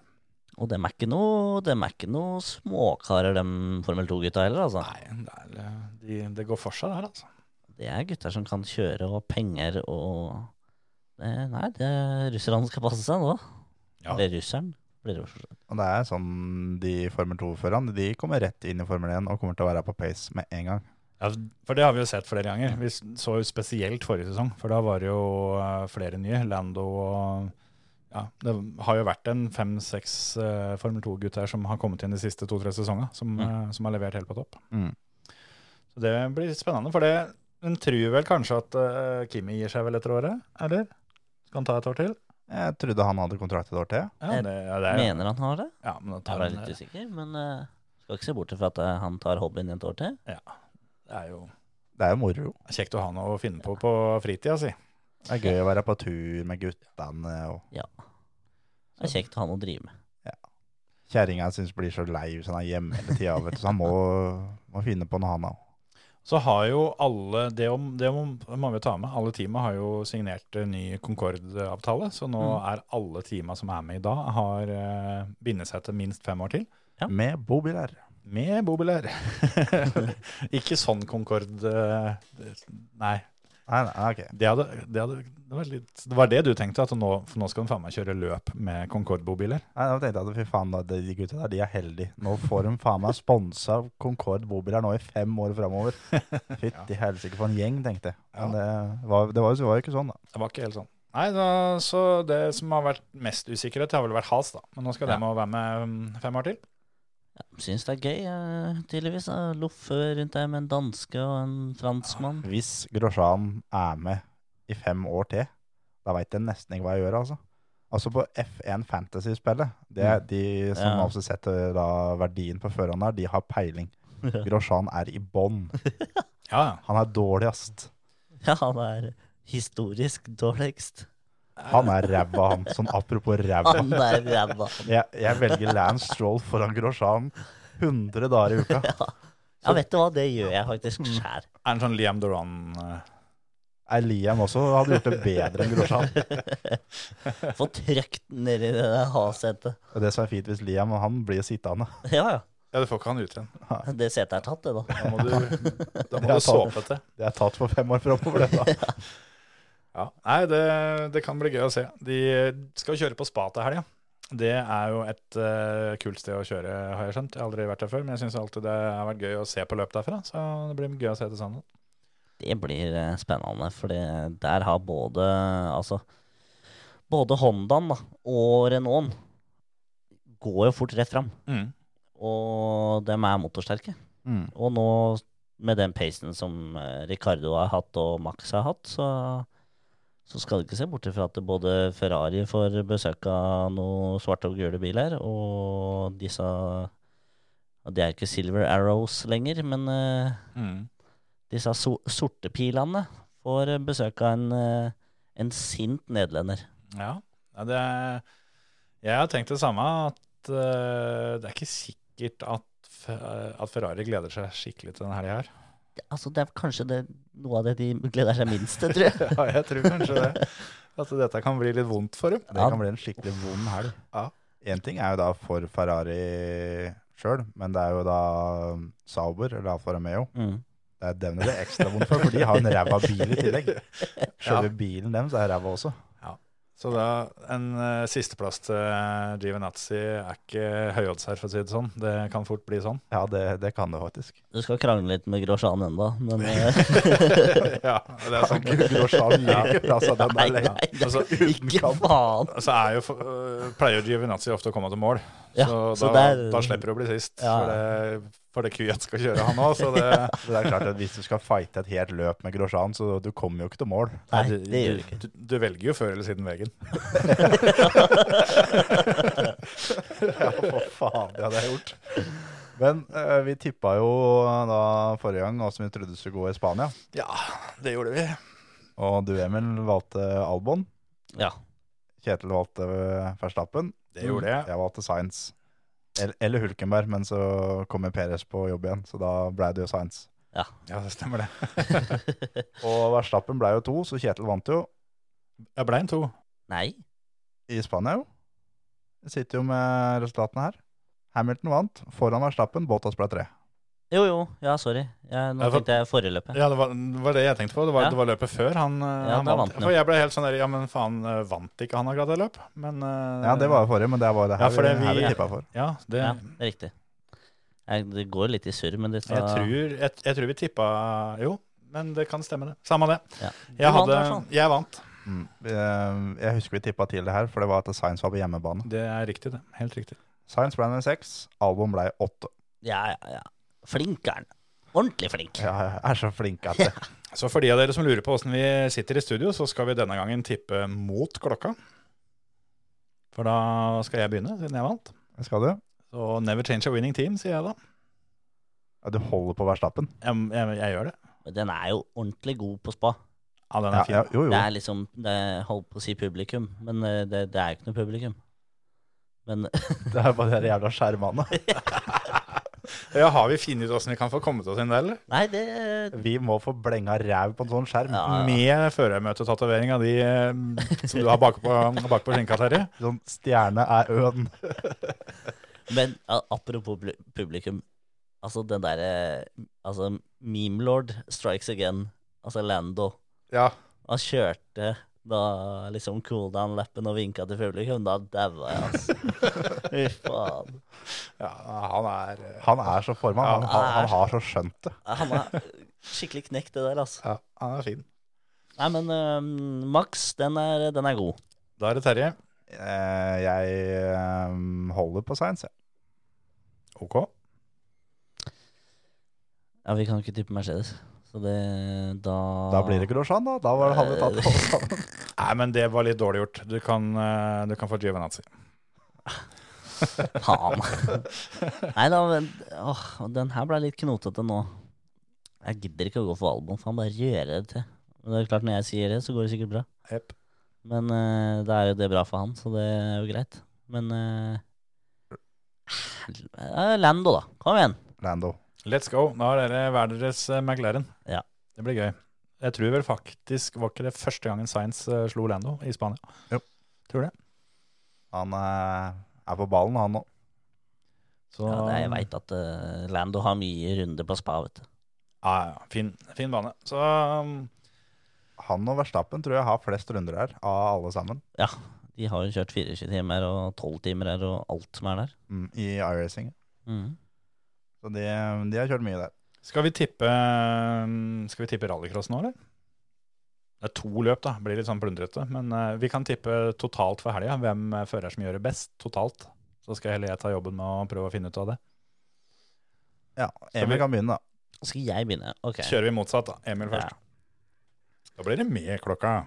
Og dem er ikke noe, dem er ikke noe småkarer, dem Formel 2-gutta heller, altså. Nei, det, er, eh, de, det går for seg der, altså. Det er gutter som kan kjøre og penger og Eh, Nei, det, russerne skal passe seg nå. Ja. Eller russeren. Blir det forstått. Og det er sånn de Formel 2-førerne de kommer rett inn i Formel 1 og kommer til å være på pace med en gang. Ja, for det har vi jo sett flere ganger. Vi så jo spesielt forrige sesong, for da var det jo eh, flere nye. Lando og ja, Det har jo vært en fem-seks eh, Formel 2-gutter som har kommet inn de siste to-tre sesongene, som, Mm. eh, som har levert helt på topp. Mm. Så det blir spennende. For det, hun tror vel kanskje at eh, Kimi gir seg vel etter året, eller? Skal han ta et år til? Jeg trodde han hadde kontrakt et år til. Ja, Jeg det, ja, det er, Mener han har det? ja, men da Jeg tar ble han, litt det usikker, men eh, skal ikke se bort fra at eh, han tar hobbyen et år til. er jo Det er jo moro. kjekt å ha noe å finne på på fritida si. Det er gøy å være på tur med guttene. og Det er kjekt å ha noe å drive med. Kjerringa syns blir så lei hvis han er hjemme hele tida, vet du, så han må, må finne på noe, han òg. Så har jo alle, det, om, det om, må vi ta med, alle teamet har jo signert eh, ny Concorde-avtale, så nå er alle teamene som er med i dag, har eh, bindet seg til minst fem år til, Ja. Med bobiler. med bobiler. Ikke sånn Concorde, eh, det- nei, Nei, nei, ok. det, hadde, det, hadde, det, var litt, det var det du tenkte, at nå, for nå skal de faen meg kjøre løp med Concorde-bobiler. Nei, da tenkte jeg at fy faen, da, de gutta der, de er heldige. Nå får de faen meg sponsa Concorde bobiler nå i fem år framover. Fytti helsike for en gjeng, tenkte jeg. Men det var, det var, jo- det var jo ikke sånn, da. Det var ikke helt sånn. Nei, da, så det som har vært mest usikkerhet har vel vært Has da, men nå skal Ja. de også være med mm, fem år til. Ja, Syns det er gøy, eh, tydeligvis. Uh, Loffe rundt der med en danske og en franskmann. Hvis Grosjan er med i fem år til, da veit jeg nesten ikke hva jeg gjør, altså. Altså på F1 Fantasy-spillet, det er de som Mm. Ja. altså setter da verdien på førerne her, de har peiling. Grosjan er i bånn. Ja, ja. Han er dårligst. Ja, han er historisk dårligst. Han er ræva, han. Sånn apropos ræva. Han er ræva. Jeg, jeg velger Lance Stroll foran Grosjean 100 dager i uka. Ja, vet du hva, det gjør jeg faktisk sjæl. Er han sånn Liam Doran? eh, Er Liam også hadde gjort det bedre enn Grosjean. Få trøkt den ned i det der hasetet. Og Det som er fint hvis Liam han blir sittende. Ja, ja. Ja, du får ikke han ut igjen. Det setet er tatt, det, da. Da må du, da må Ja, du ta såpe til. Det er tatt for fem år framover, det da. Ja. Nei, det, det kan bli gøy å se. De skal kjøre på spa til helga. Det er jo et eh, kult sted å kjøre, har jeg skjønt. Jeg har aldri vært der før, men jeg syns alltid det har vært gøy å se på løp derfra. Så det blir gøy å se til sammen. Det blir eh, spennende, for det- der har både Altså, både Hondaen da, og Renaulten går jo fort rett fram. Mm, Og de er motorsterke. Mm. Og nå, med den pacen som eh, Ricardo har hatt og Max har hatt, så, så skal du ikke se bort ifra at både Ferrari får besøk av noen svarte og gule biler, og disse og Det er ikke Silver Arrows lenger, men eh, mm. disse so sorte pilene får eh, besøk av en, eh, en sint nederlender. Ja. ja det er, jeg har tenkt det samme, at eh, det er ikke sikkert at, Fe- at Ferrari gleder seg skikkelig til denne helga her. Det- Altså, det er kanskje det, noe av det de gleder seg minst til, tror jeg. Ja, jeg tror kanskje det. At dette kan bli litt vondt for dem. Det kan bli en skikkelig vond helg. Ja. Én ting er jo da for Ferrari sjøl, men det er jo da um, Sauber eller Alfa Romeo. Mm. Det er dem det blir ekstra vondt for, for de har jo en ræva bil i tillegg. Sjølve bilen deres er ræva også. Så da, en eh, sisteplass til uh, Givenazzi er ikke høyodds her, for å si det sånn. Det kan fort bli sånn. Ja, det, det kan det faktisk. Du skal krangle litt med Grosjan ennå, men eh, ja, det er sånn. Grosjean gir ikke fra seg den Nei, der nei, lenger. det Altså, er ikke faen! Så er jo, eh, pleier jo Givenazzi ofte å komme til mål, Ja, så, så da, der- da slipper du å bli sist. Ja. For det, for det Kvyat skal kjøre, han òg. Så det, Det er klart at Hvis du skal fighte et helt løp med Grosjean, så du kommer jo ikke til mål. Nei, det gjør du ikke. du, du velger jo før eller siden veggen. Ja, for faen, det hadde jeg gjort. Men eh, vi tippa jo eh, da forrige gang åssen vi trodde det skulle gå i Spania. Ja, det gjorde vi. Og du, Emil, valgte Albon. Ja. Kjetil valgte Verstappen. Det gjorde jeg. Jeg valgte Sainz. El- Eller Hulkenberg, men så kommer Peres på jobb igjen, så da ble det jo Sainz. Ja, det stemmer det. Og Verstappen ble jo to, så Kjetil vant jo Jeg ble en to. Nei. i Spania, jo. Jeg sitter jo med resultatene her. Hamilton vant foran Verstappen, Bottas ble tre. Jo, jo. Ja, sorry. Jeg, nå Ja, for- tenkte jeg forrige Ja, det var, det var det jeg tenkte på. Det var, Ja. det var løpet før han, eh, Ja, han da vant. vant han. For jeg ble helt sånn der, ja, men faen, eh, vant ikke han akkurat det løp? Men eh, Ja, det var jo forrige, men det var det Ja, her for det vi, her vi- vi tippa for. Ja, det, Ja, det er riktig. Jeg, det går litt i surr, men det jeg, tror, jeg, jeg tror vi tippa Jo, men det kan stemme, det. Samme det. Ja. Du Jeg, vant hadde, i hvert fall. jeg vant. Mm. Eh, Jeg husker vi tippa til det her, for det var at Science var på hjemmebane. Det er riktig, det. Helt riktig. Science ble nummer seks, Albon ble åtte. Ja, ja, ja. Flink er han. Ordentlig flink. Ja, jeg er så flink at det. Så for de av dere som lurer på åssen vi sitter i studio, så skal vi denne gangen tippe mot klokka. For da skal jeg begynne, siden jeg vant. Skal du? Så never change a winning team, sier jeg da. Ja, Du holder på Verstappen. Jeg, jeg, jeg gjør det. Men Den er jo ordentlig god på spa. Ja, den Ja, er fin. ja, jo, jo. Det er liksom det, Holdt på å si publikum, men eh, det, det er jo ikke noe publikum. Men Det er bare de jævla skjermene. Ja, har vi funnet ut åssen vi kan få kommet oss inn der, eller? Nei, det Vi må få blenga ræv på en sånn skjerm. Ja, ja. Med førermøtetatovering av de eh, som du har bakpå bak skinka, Terje. Sånn stjerne er øen. Men a- apropos plu- publikum. Altså den derre Altså Memelord strikes again. Altså Lando. Ja. Han kjørte da liksom cooldown-lappen og vinka til publikum. Da daua jeg, altså. Fy faen. ja. Han er eh, Han er så forma. Han, han, han har så skjønt det. Han er skikkelig knekt, det der, altså. ja, han er fin. Nei, men øhm, Max, den er, den er god. Da er det Terje. Ehm, Eh, Jeg eh, holder på science, jeg. OK. Ja, vi kan jo ikke tippe Mercedes. Så det Da Da blir det Grosjean, da. Da var det hadde tatt alle sammen. Nei, men det var litt dårlig gjort. Du kan, eh, du kan få Giovenazzi. Faen. Nei da, men åh, den her ble litt knotete nå. Jeg gidder ikke å gå for album, for han bare gjør det til. Men det er klart, når jeg sier det, så går det sikkert bra. Jepp. Men eh, da er jo det bra for han, så det er jo greit. Men eh, eh, Lando, da. Kom igjen. Lando. Let's go. Da har dere hver deres eh, McLaren. Ja. Det blir gøy. Jeg tror vel faktisk var ikke det første gangen Sainz eh, slo Lando i Spania. Han eh, er på ballen, han òg. Så, Ja, det, jeg veit at eh, Lando har mye runder på spa, vet du. Ja, ja. Fin, fin bane. Så um, Han og Verstappen tror jeg har flest runder her, av alle sammen. Ja, de har jo kjørt 24 timer og 12 timer her og alt som er der. Mm, I iRacing. Mm. Så de, de har kjørt mye der. Skal vi tippe mm, Skal vi tippe rallycross nå, eller? Det er to løp, da. Blir litt sånn plundrete. Men eh, vi kan tippe totalt for helga. Hvem eh, fører som gjør det best totalt? Så skal heller jeg ta jobben med å prøve å finne ut av det. Ja, vi- Emil kan begynne, da. Skal jeg begynne? Ok. Kjører vi motsatt, da. Emil først. Da blir det med klokka.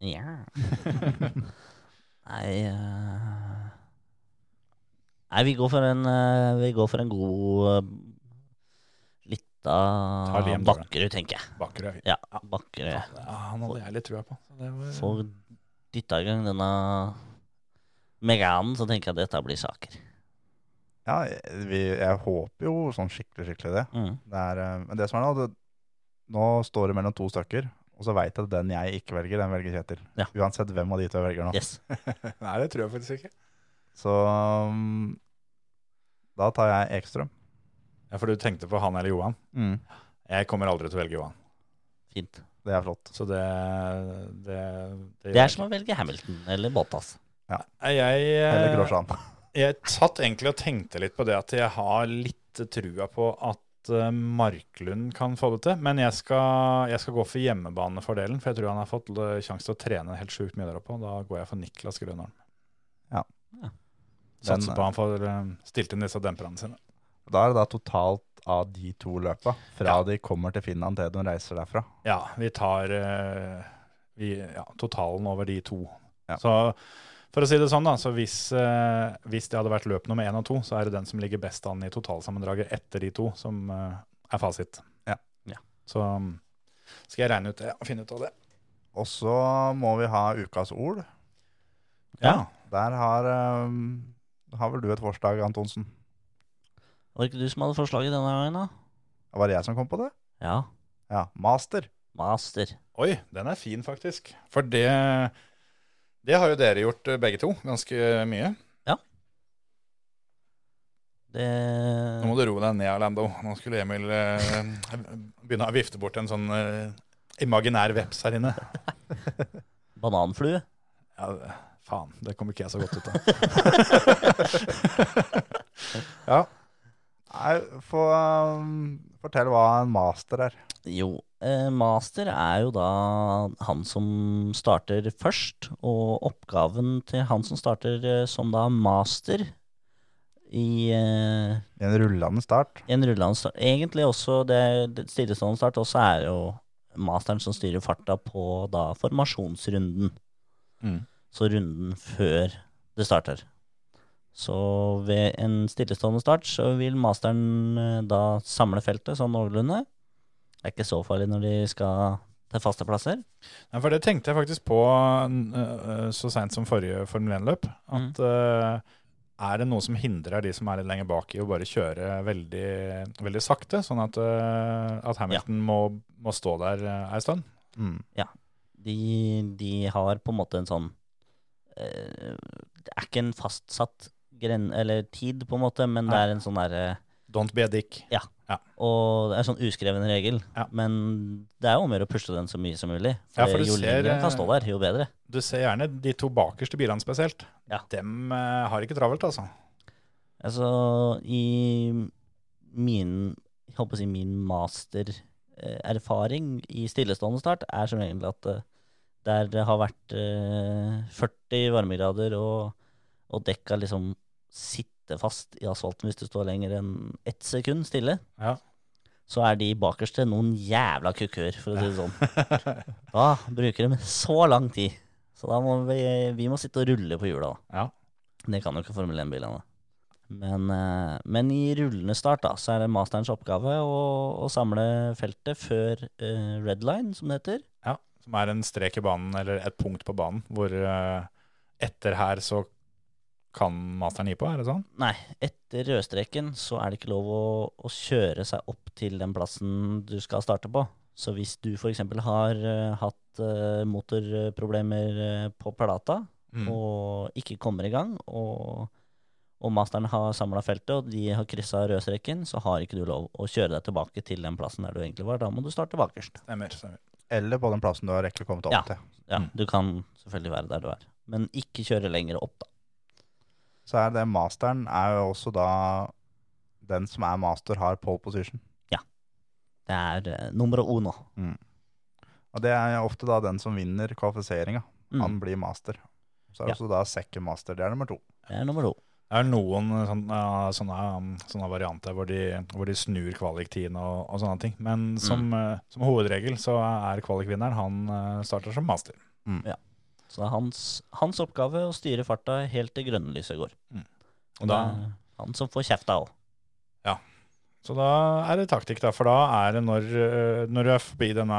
Ja. Nei eh, Nei, vi går for en, eh, vi går for en god uh, lita Ta Liam, da. Bakkerud, tenker jeg. Bakkerud er fin. Ja, Bakkerud. Ja, han hadde jeg litt trua på. Så det var- Får dytta i gang denne Meganen, så tenker jeg at dette blir saker. Ja, vi, jeg håper jo sånn skikkelig, skikkelig det. Mm. Det er, eh, men det som er nå, det, nå står det mellom to stykker, og så veit jeg at den jeg ikke velger, den velger Kjetil. Ja. Uansett hvem av de to jeg velger nå. Yes. Nei, det tror jeg faktisk ikke. Så um, da tar jeg Ekstrøm. Ja, For du tenkte på han eller Johan? Jeg kommer aldri til å velge Johan. Fint. Det er flott. Så det Det, Det er som å velge Hamilton eller Bottas. Jeg, eh, Eller Grosjan. Jeg satt egentlig og tenkte litt på det at jeg har litt trua på at eh, Marklund kan få det til. Men jeg skal, jeg skal gå for hjemmebanefordelen, for jeg tror han har fått eh, sjanse til å trene helt sjukt mye der oppe. Og da går jeg for Niklas Grønholm. Ja. Ja. Satser Den- på han får eh, stilt inn disse demperne sine. Da er det da totalt av de to løpa, fra de kommer til Finland til de reiser derfra. Ja, vi tar eh, vi, ja, totalen over de to. Ja. Så For å si det sånn, da, så hvis, eh, hvis det hadde vært løp nummer én og to, så er det den som ligger best an i totalsammendraget etter de to, som eh, er fasit. Ja. Ja. Så mm, skal jeg regne ut det og finne ut av det. Og så må vi ha ukas ord. Ja. Der har, ehm, har vel du et forslag, Antonsen. Var det ikke du som hadde forslaget denne gangen, da? Var det jeg som kom på det? Ja. Ja. Master. Master. Oi, den er fin faktisk. For det, det har jo dere gjort eh, begge to, ganske mye. Det Nå må du roe deg ned, Orlando. Nå skulle Emil eh, begynne å vifte bort en sånn eh, imaginær veps her inne. Bananflue. Ja, det- faen, det kom ikke jeg så godt ut av. Nei, få, ehm, fortell hva en master er. Jo, eh, master er jo da han som starter først, og oppgaven til han som starter eh, som da master i eh, En rullende start. en rullende start. Egentlig også det, det stillestående start, også er jo masteren som styrer farta på da formasjonsrunden. Mm. Så runden før det starter. Så ved en stillestående start så vil masteren eh, da samle feltet sånn noenlunde. Det er ikke så farlig når de skal til faste plasser. Ja, for det tenkte jeg faktisk på eh, så seint som forrige Formel 1-løp. At eh, er det noe som hindrer de som er litt lenger bak i å bare kjøre veldig, veldig sakte, sånn at, eh, at Hamilton må, må stå der eh, ei stund? Mm. De, de har på en måte en sånn eh, Det er ikke en fastsatt gren, eller tid, på en måte, men det Nei. er en sånn derre Don't be a dick. Og det er en sånn uskreven regel. Ja. Men det er jo om å gjøre å pusle den så mye som mulig. Ja, For, for du jo ser, lenger den kan stå eh, der, jo bedre. Du ser gjerne de to bakerste bilene spesielt. Ja. Dem eh, har ikke travelt, altså. Altså, i min jeg håper å si min mastererfaring i stillestående start er som regel at eh, der det har vært eh, 40 varmegrader og, og dekka liksom sitter fast i asfalten hvis du står lenger enn ett sekund stille, Ja. så er de bakerste noen jævla kukkør, for å si det sånn. Da bruker de så lang tid. Så da må vi, vi må sitte og rulle på hjula. da. Ja. Det kan jo ikke Formel 1-bilene. Men, eh, men i rullende start da, så er det masterens oppgave å, å samle feltet før eh, red line, som det heter. Ja, som er en strek i banen, eller et punkt på banen, hvor eh, etter her så kan masteren gi på, er det sånn? Nei, etter rødstreken så er det ikke lov å, å kjøre seg opp til den plassen du skal starte på. Så hvis du f.eks. har eh, hatt eh, motorproblemer eh, på plata, og ikke kommer i gang, og, og masteren har samla feltet, og de har kryssa rødstreken, så har ikke du lov å kjøre deg tilbake til den plassen der du egentlig var. Da må du starte bakerst. Stemmer. stemmer. Eller på den plassen du har rekke kommet opp Ja. til. Ja, Mm. Du kan selvfølgelig være der du er, men ikke kjøre lenger opp, da. Så er det masteren er jo også da den som er master, har pole position. Det er eh, nummer uno. Og det er ofte da den som vinner kvalifiseringa. Mm. Han blir master. Så er det også da second master. Det er nummer to. Det er nummer to. Det er noen sånne, sånne, sånne varianter hvor de, hvor de snur kvaliktiden og, og sånne ting. Men som, eh, som hovedregel så er kvalikvinneren, han eh, starter som master. Så det er hans, hans oppgave å styre farta helt til grønnlyset går. Og da, Det er han som får kjefta òg. så da er det taktikk, da. For da er det når, eh, når du er forbi denne,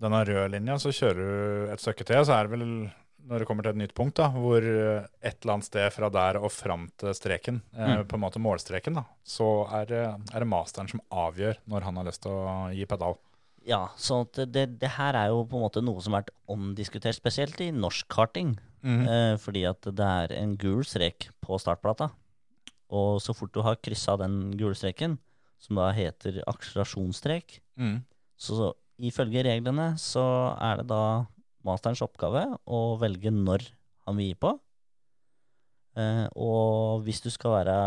denne røde linja, så kjører du et stykke til. Så er det vel når det kommer til et nytt punkt, da, hvor eh, et eller annet sted fra der og fram til streken, eh, på en måte målstreken, da, så er det, er det masteren som avgjør når han har lyst til å gi pedal. Ja, så at det, det her er jo på en måte noe som har vært omdiskutert, spesielt i norsk karting. Mm. eh, fordi at det er en gul strek på startplata. Og så fort du har kryssa den gule streken, som da heter akselerasjonsstrek, Mm. så, så ifølge reglene så er det da masterens oppgave å velge når han vil gi på. Eh, og hvis du skal være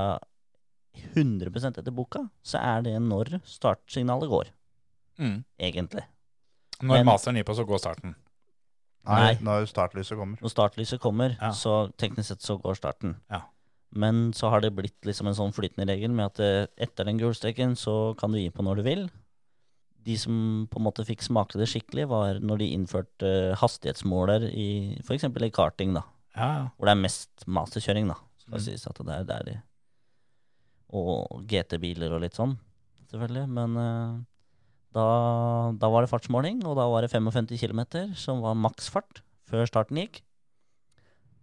100 etter boka, så er det når startsignalet går, Mm. egentlig. Når Men- masteren gir på, så går starten. Nei, Nei. Når startlyset kommer. Når startlyset kommer, Ja. så teknisk sett så går starten. Ja. Men så har det blitt liksom en sånn flytende regel med at eh, etter den gulstreken så kan du gi på når du vil. De som på en måte fikk smake det skikkelig, var når de innførte eh, hastighetsmåler i f.eks. i karting. da. Ja, ja. hvor det er mest masterkjøring, da. Skal sies at det er der de Og GT-biler og litt sånn, selvfølgelig. Men eh, da, da var det fartsmåling, og da var det 55 km som var maksfart før starten gikk.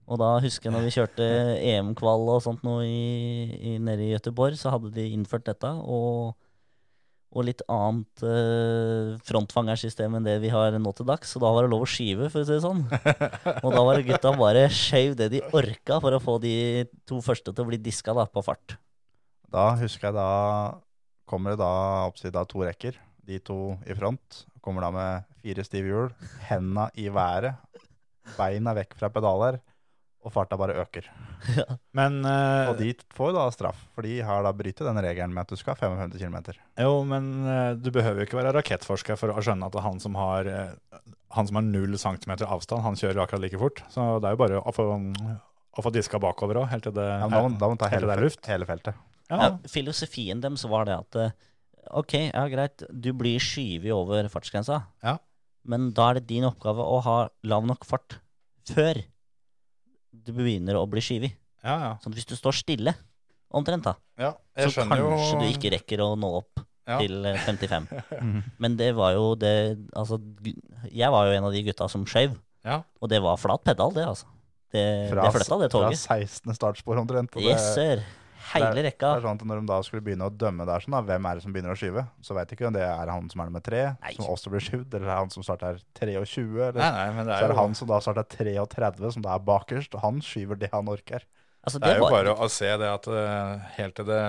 Og da husker jeg når vi kjørte EM-kval og sånt noe i, i, nede i Gøteborg, så hadde de innført dette. og og litt annet eh, frontfangersystem enn det vi har nå til dags. Så da var det lov å skyve, for å si det sånn. Og da var det gutta bare skjøv det de orka for å få de to første til å bli diska da, på fart. Da husker jeg da kommer det da oppsiden av to rekker. De to i front kommer da med fire stive hjul, henda i været, beina vekk fra pedaler, og farta bare øker. Men, eh, Og de får da straff, for de har da brytet den regelen med at du skal ha 55 km. jo, men eh, du behøver jo ikke være rakettforsker for å skjønne at han som har, eh, han som har null centimeter avstand, han kjører akkurat like fort. Så det er jo bare å få, å få diska bakover òg, helt til det Ja, men da må, da må du ta Helt hele, det er fel- luft. hele feltet. Ja, Ja, filosofien deres var det at eh, OK, ja greit, du blir skyvet over fartsgrensa. Ja. Men da er det din oppgave å ha lav nok fart før du begynner å bli skyvet. ja, ja. Sånn at hvis du står stille, omtrent, da, ja jeg så skjønner kanskje jo du ikke rekker å nå opp Ja. Mhm. til eh, 55. Men det var jo det Altså, gu- jeg var jo en av de gutta som skjøv. Ja. Og det var flat pedal, det, altså. Det, det flytta, fra det toget. 16. startspor omtrent. og det- Yes, sir. Hele rekka. Det er sånn at Når de da skulle begynne å dømme der, sånn da, hvem er det som begynner å skyve, så veit ikke om det er han som er nummer tre, Nei. som også blir skyvd, eller er han som starter 23, eller Nei, nei, men det så er er det jo han som da starter 33, som da er bakerst, og han skyver det han orker. Altså, Det er jo var- bare å se det at eh, helt til det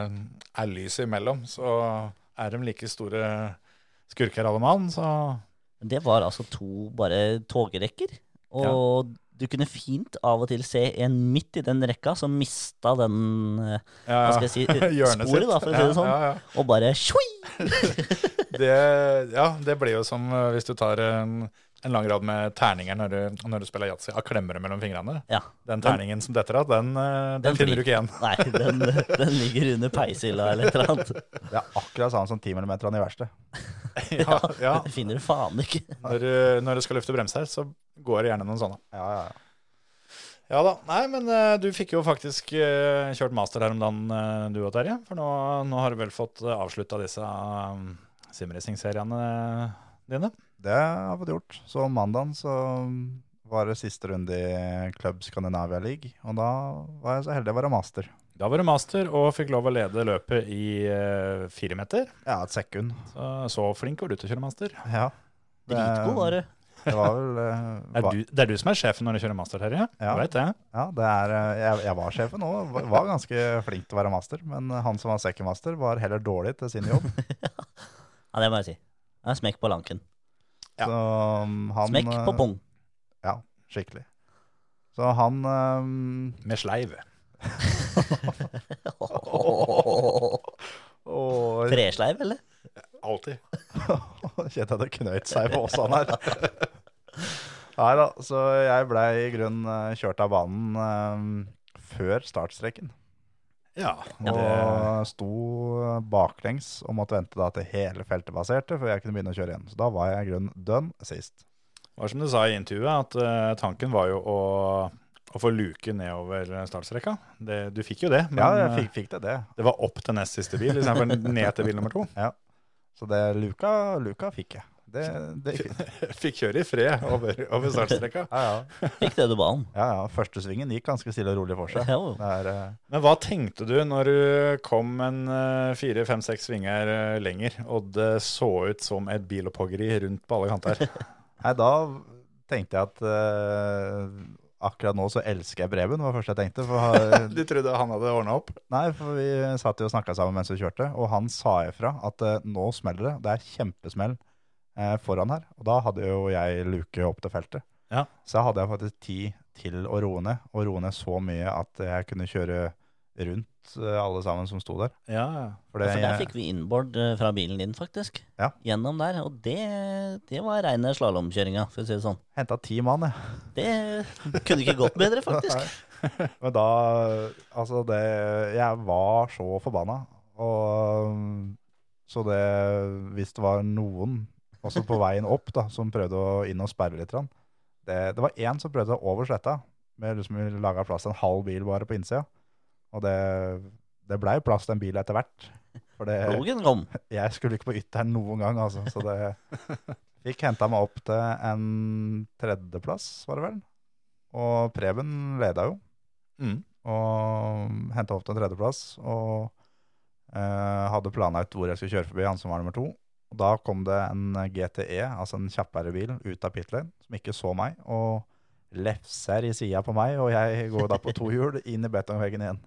er lys imellom, så er de like store skurker alle mann, så Det var altså to bare togrekker. Og du kunne fint av og til se en midt i den rekka som mista den eh, ja, Hva skal jeg si, hjørnet sporet, da, for å si det Ja, sånn. Ja, ja. Og bare tjoi! Det, ja, det blir jo som eh, hvis du tar en, en lang rad med terninger når du, når du spiller yatzy, av klemmere mellom fingrene. Ja. Den terningen som detter av, den, eh, den, Den finner flyr. du ikke igjen. Nei, den, den ligger under peishylla eller et eller annet. Det er akkurat sånn som 10 mm-ene i verste. Ja, ja. Den finner du faen ikke. Når, du- når du skal lufte bremser, så går det gjerne noen sånne. Ja, ja, ja. Ja da. Nei, men eh, du fikk jo faktisk eh, kjørt master her om dagen, eh, du og Terje. For nå, nå har du vel fått uh, avslutta disse um, simracing-seriene dine. Det har vi gjort. Så mandagen så var det siste runde i Club Scandinavia League, og da var jeg så heldig å være master. Da var du master og fikk lov å lede løpet i eh, fire meter. Ja, et sekund. Så, så flink var du til å kjøre master. Ja. Det- Dritgod var du. Det var vel eh, Er va- du, det er du som er sjefen når du kjører master, Terje. Ja. Du vet det. Ja, det er, eh, jeg, jeg var sjefen òg, var ganske flink til å være master. Men han som var second master, var heller dårlig til sin jobb. Ja, det må jeg si. Det er smekk på lanken. Så um, han Smekk på eh, pung. Ja, skikkelig. Så han um, Med sleiv. Og Tresleiv, eller? Alltid. Kjente jeg det knøyt seg på åsene her. Nei da, så jeg ble i grunnen eh, kjørt av banen eh, før startstreken. Ja. Og Det, sto baklengs og måtte vente da til hele feltet passerte før jeg kunne begynne å kjøre igjen. Så da var jeg i grunnen dønn sist. var som du sa i intervjuet, at eh, tanken var jo å, å få luke nedover startstrekka. Det, du fikk jo det. Men, eh, Ja, jeg fikk, fikk det, det. Det var opp til nest siste bil, istedenfor ned til bil nummer to. Så det luka, luka fikk jeg. Det, det gikk fint. Fikk kjøre i fred over, over startstreka. Ja ja. Fikk det du ba om. ja, ja. Første svingen gikk ganske stille og rolig for seg. Jo. Det er, eh, Men hva tenkte du når du kom en eh, fire, fem, seks svinger eh, lenger, og det så ut som et bilhopphoggeri rundt på alle kanter? nei, da tenkte jeg at eh, akkurat nå så elsker jeg Breben, var det første jeg tenkte. For, Du trodde han hadde ordna opp? nei, for vi satt jo og snakka sammen mens vi kjørte, og han sa ifra at eh, nå smeller det. Det er kjempesmell eh, foran her. Og da hadde jo jeg luke opp til feltet. Ja. Så hadde jeg faktisk tid til å roe ned, og roe ned så mye at jeg kunne kjøre rundt eh, alle sammen som sto der. Ja, For For der jeg- fikk vi innboard eh, fra bilen din, faktisk. Ja. Gjennom der. Og det, det var reine slalåmkjøringa, for å si det sånn. Henta ti mann, jeg. Det kunne ikke gått bedre, faktisk. Men da Altså, det Jeg var så forbanna. Og um, Så det Hvis det var noen, altså også på veien opp, da, som prøvde å inn og sperre litt, grann, det, det var én som prøvde å over sletta, Vi liksom laga plass til en halv bil bare på innsida. Og det, det blei plass til en bil etter hvert. For det, Logen kom. jeg skulle ikke på ytteren noen gang, altså. Så det fikk henta meg opp til en tredjeplass, var det vel. Og Preben leda jo, Mm. og henta opp til en tredjeplass. Og eh, hadde plana ut hvor jeg skulle kjøre forbi han som var nummer to. Og da kom det en GTE, altså en kjappere bil, ut av pit lane, som ikke så meg, og lefser i sida på meg, og jeg går da på to hjul inn i betongveggen igjen.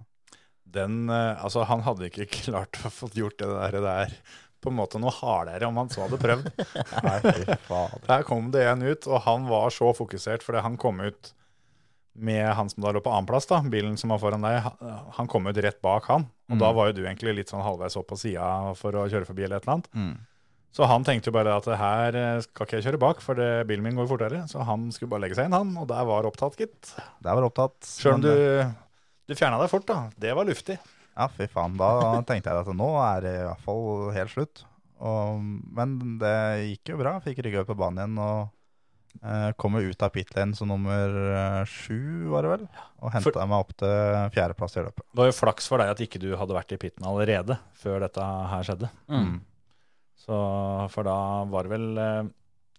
Den, eh, altså, han hadde ikke klart å få gjort det der, det der på en måte noe hardere om han så hadde prøvd. Nei, fy fader. Der kom det en ut, og han var så fokusert, fordi han kom ut med han som da lå på annenplass, da, bilen som var foran deg, han- han kom ut rett bak han. Og da var jo du egentlig litt sånn halvveis opp på sida for å kjøre forbi eller et eller annet. Mm. Så han tenkte jo bare at her eh, skal ikke jeg kjøre bak, for det, bilen min går fortere. Så han skulle bare legge seg inn, han, og der var opptatt, gitt. Der var det opptatt. Sjøl om men- du, du fjerna deg fort, da. Det var luftig. Ja, fy faen. Da tenkte jeg at nå er det i hvert fall helt slutt. Og, men det gikk jo bra. Fikk rygga ut på banen igjen og eh, kom jo ut av pit lane som nummer eh, sju, var det vel? Og henta meg opp til fjerdeplass i løpet. Det var jo flaks for deg at ikke du hadde vært i pitten allerede før dette her skjedde. Mm. Så, for da var det vel eh,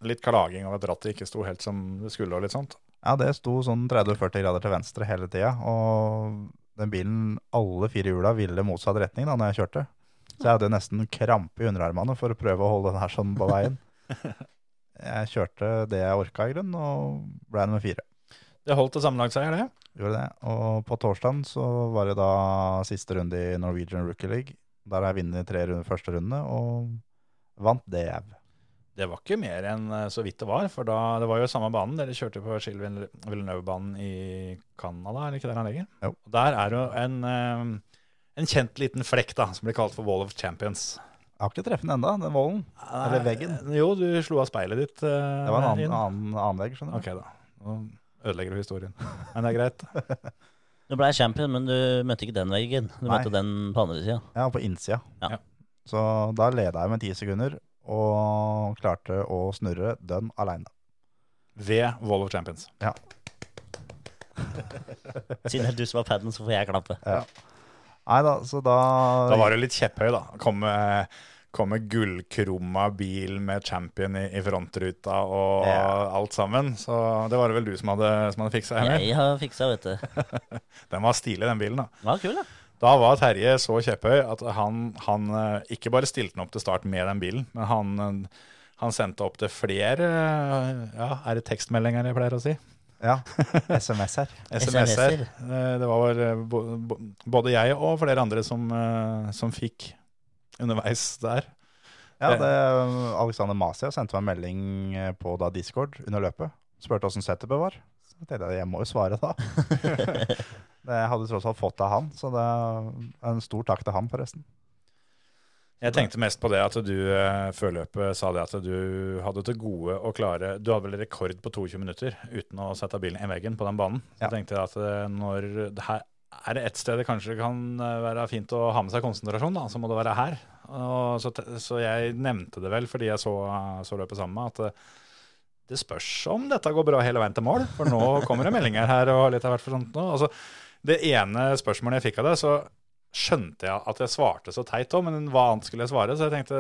litt klaging over at rattet ikke sto helt som det skulle og litt sånt. Ja, det sto sånn 30-40 grader til venstre hele tida. Og den bilen, alle fire hjula, ville motsatt retning da når jeg kjørte. Så jeg hadde jo nesten krampe i underarmene for å prøve å holde den her sånn på veien. Jeg kjørte det jeg orka i grunnen, og ble nummer fire. Det holdt til sammenlagtseier, det. Gjorde det. Og på torsdagen så var det da siste runde i Norwegian Rookie League. Der har jeg vunnet tre runder første runde, og vant det jeg. Det var ikke mer enn eh, så vidt det var, for da, det var jo samme banen. Dere kjørte på Gilles Villeneuve-banen i Canada, er det ikke der han ligger? Jo. Og Der er jo en, eh, en kjent liten flekk da, som blir kalt for Wall of Champions. Jeg har ikke treffet den enda, den volden. Ah, Eller Nei, veggen. Jo, du slo av speilet ditt. eh, Det var en inn. annen, annen, annen vegg, skjønner du. Ok da, nå ødelegger du historien. Men det er greit. Du ble champion, men du møtte ikke den veggen. Du Nei. møtte den på andre sida. Ja, på innsida. Ja. Så da leda jeg med ti sekunder, og klarte å snurre dønn aleine. Ved Wall of Champions. Siden det er du som har paden, så får jeg klappe. Nei da, så da, Da var du litt kjepphøy, da. Komme komme gullkrumma bil med champion i, i frontruta og Ja. alt sammen. Så det var det vel du som hadde, som hadde fiksa henne. Jeg har fiksa, vet du. Den var stilig, den bilen. Da Det var kul, da. Da var Terje så kjepphøy at han, han eh, ikke bare stilte den opp til start med den bilen, men han, eh, han sendte opp til flere eh, ja, Er det tekstmeldinger jeg pleier å si? Ja, SMS her. SMS-er. Eh, Det var eh, bo- bo- både jeg og flere andre som, eh, som fikk underveis der. Ja, det, Alexander Masia sendte meg en melding eh, på da Discord under løpet. Spurte åssen setupet var. Så tenkte jeg jeg må jo svare, da. det hadde jeg tross alt fått av han, så det er en stor takk til han, forresten. Jeg tenkte mest på det at du eh, før løpet sa det at du hadde til gode å klare Du hadde vel rekord på 22 minutter uten å sette bilen i veggen på den banen. Så Ja. jeg tenkte at eh, når det her er det ett sted det kanskje kan eh, være fint å ha med seg konsentrasjon, da, så må det være her. Og så, te- så jeg nevnte det vel fordi jeg så, så løpet sammen med at eh, det spørs om dette går bra hele veien til mål, for nå kommer det meldinger her og litt av hvert for sånt nå. Altså, det ene spørsmålet jeg fikk av det, så skjønte jeg at jeg svarte så teit òg, men hva annet skulle jeg svare? Så jeg tenkte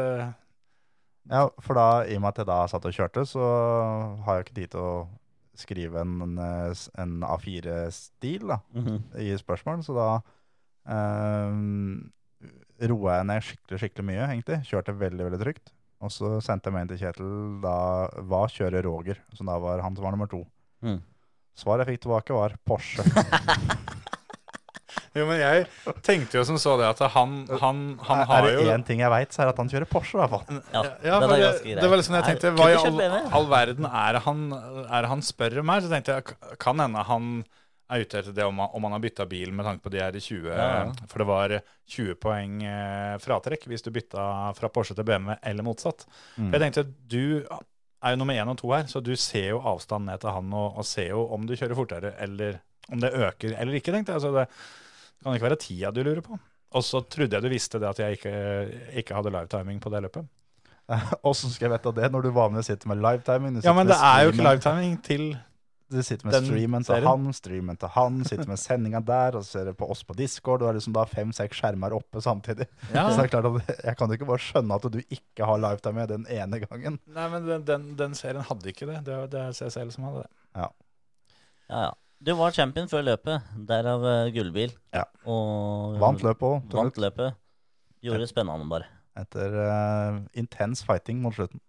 Ja, For da, i og med at jeg da satt og kjørte, så har jeg ikke tid til å skrive en, en, en A4-stil da, Mhm. i spørsmål, så da eh, roa jeg ned skikkelig, skikkelig mye, egentlig. Kjørte veldig, veldig trygt. Og så sendte jeg meg inn til Kjetil da Hva kjører Roger? Som da var han som var nummer to. Mm. Svaret jeg fikk tilbake, var Porsche. Jo, men jeg tenkte jo som så det at han, han, han er har det jo én ting jeg veit, så er det at han kjører Porsche, i hvert fall. Ja, ja, den for er det, ganske grei. det var liksom jeg Nei, tenkte kunne Hva i kjøpt all, BMW. all verden er det han, er det han spør om her? Så tenkte jeg kan hende han er ute etter det om han, om han har bytta bil med tanke på de her 20 Ja, ja. For det var 20 poeng eh, fratrekk hvis du bytta fra Porsche til BMW eller motsatt. Mm. For Jeg tenkte du er jo nummer én og to her, så du ser jo avstanden ned til han og, og ser jo om du kjører fortere eller om det øker eller ikke, tenkte jeg. Så det kan ikke være tida du lurer på. Og så trodde jeg du visste det at jeg ikke, ikke hadde livetiming på det løpet. Åssen skal jeg vite det når du vanligvis sitter med livetiming? du Ja, sitter men med det er jo streamen. ikke livetiming til Du sitter med Den streamen til serien? han, streamen til han, sitter med sendinga der, og så ser du på oss på Discord. Du har liksom da fem-seks skjermer oppe samtidig. Ja. Så det er klart at jeg kan jo ikke bare skjønne at du ikke har lifetime med den ene gangen. Nei, men den, den, den serien hadde ikke det. Det, var- det er CSL som hadde det. Ja, ja. Du var champion før løpet, derav eh, gullbil. Ja. Og Mm. Vant løpet òg, til vant slutt. løpet. Gjorde det spennende, bare. Etter eh, intens fighting mot slutten.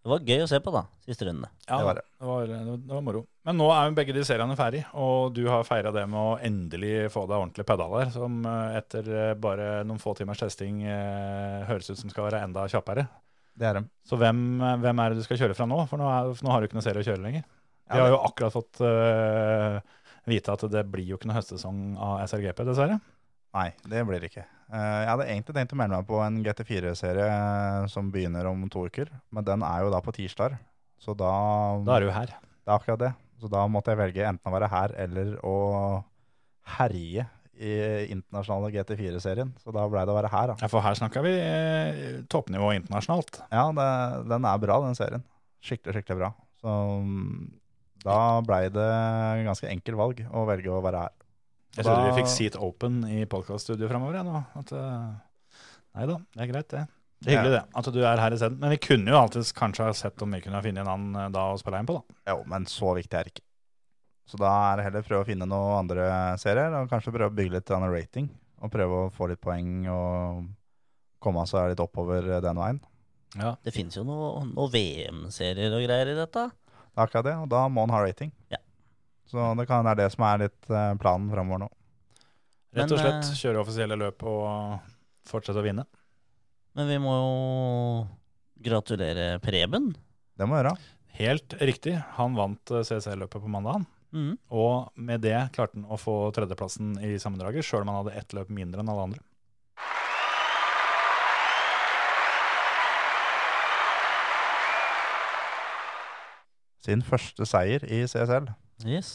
Det var gøy å se på, da. Siste runde. Ja, Det var det. var, det var moro. Men nå er jo begge de seriene ferdig, og du har feira det med å endelig få deg ordentlig pedaler, som eh, etter eh, bare noen få timers testing eh, høres ut som skal være enda kjappere. Det er dem. Så hvem, eh, hvem er det du skal kjøre fra nå? For nå, er, for nå har du ikke noe serie å kjøre lenger. Ja, Vi har jo akkurat fått eh, vite at det blir jo ikke noe høstsesong av SRGP, dessverre. Nei, det blir det ikke. Eh, jeg hadde egentlig tenkt å melde meg på en GT4-serie eh, som begynner om to uker, men den er jo da på tirsdag. Så da, Da er du jo her. Det er akkurat det. Så da måtte jeg velge enten å være her eller å herje i internasjonale GT4-serien. Så da blei det å være her, da. Ja, for her snakker vi eh, toppnivå internasjonalt. Ja, det, den er bra, den serien. Skikkelig, skikkelig bra. Så mm, da blei det ganske enkel valg å velge å være her. Jeg Da- trodde vi fikk Seat Open i podkaststudioet framover. Ja, nå. at, eh, nei da, det er greit, det. Det er Hyggelig det, at du er her isteden. Men vi kunne jo alltids kanskje ha sett om vi kunne ha funnet en annen eh, da å spille inn på, da. Jo, men så viktig er det ikke. Så da er det heller prøve å finne noen andre serier, og kanskje prøve å bygge litt annen rating, og prøve å få litt poeng og komme seg litt oppover den veien. Det fins jo noen noe VM-serier og greier i dette. Det er akkurat det, og da må han ha rating. Ja. Så det kan være det som er litt eh, planen framover nå. Rett Men, og slett eh, kjøre offisielle løp og fortsette å vinne. Men vi må jo gratulere Preben. Det må vi gjøre. Helt riktig, han vant CSL-løpet på mandag. Mhm. Og med det klarte han å få tredjeplassen i sammendraget, sjøl om han hadde ett løp mindre enn alle andre. Sin første seier i CSL. Yes.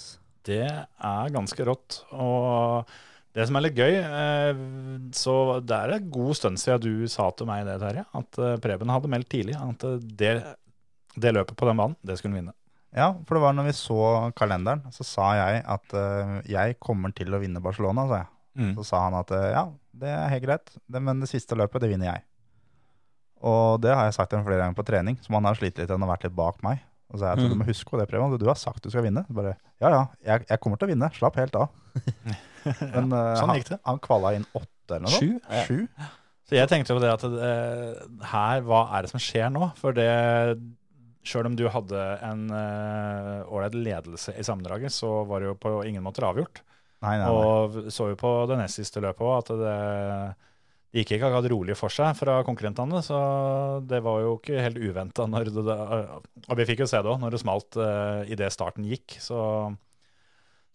Det er ganske rått. Og det som er litt gøy eh, Så det er en god stund siden du sa til meg det, Terje, at eh, Preben hadde meldt tidlig at eh, det, det løpet på den banen, det skulle han vinne. Ja, for det var når vi så kalenderen, så sa jeg at eh, jeg kommer til å vinne Barcelona, sa jeg. Mm. Så sa han at eh, ja, det er helt greit, det, men det siste løpet, det vinner jeg. Og det har jeg sagt til ham flere ganger på trening, som han har slitt litt, han har vært litt bak meg. Og så sa jeg at Mm. du må huske på det, Preben, du har sagt du skal vinne. Så Bare, ja, ja, jeg, jeg kommer til å vinne, slapp helt av. Men eh, sånn han, gikk det. han kvala inn åtte eller noe sånt. Sju? Sju? Så jeg tenkte jo det at eh, her, hva er det som skjer nå? For det Sjøl om du hadde en eh, ålreit ledelse i sammendraget, så var det jo på ingen måter avgjort. Nei, nei, nei. Og vi så jo på det nest siste løpet òg at det, det gikk ikke akkurat rolig for seg fra konkurrentene. Så det var jo ikke helt uventa når det da- Og vi fikk jo se det òg, når det smalt eh, i idet starten gikk. Så,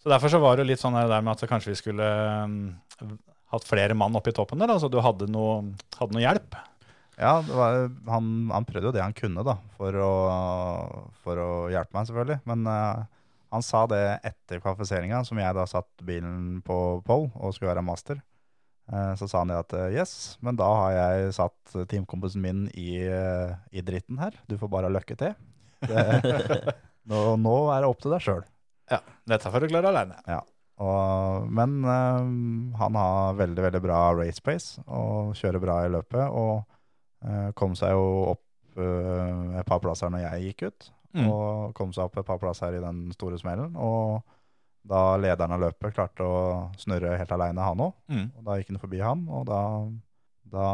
så derfor så var det jo litt sånn her der med at kanskje vi skulle mm, hatt flere mann oppe i toppen der, da, så du hadde noe, hadde noe hjelp. Ja, det var, han, han prøvde jo det han kunne da, for å, for å hjelpe meg selvfølgelig. Men eh, han sa det etter kvalifiseringa, som jeg da satt bilen på pole og skulle være master. Eh, så sa han det at eh, yes, men da har jeg satt teamkompisen min i, eh, i dritten her. Du får bare ha lykke til. Det, nå, nå er det opp til deg sjøl. Dette får du klare aleine. Og, men eh, han har veldig, veldig bra race pace og kjører bra i løpet. Og eh, kom seg jo opp eh, et par plasser når jeg gikk ut. Mm. Og kom seg opp et par plasser i den store smellen. Og da lederen av løpet klarte å snurre helt aleine, han òg. Mm. Og da gikk han forbi han, og da, da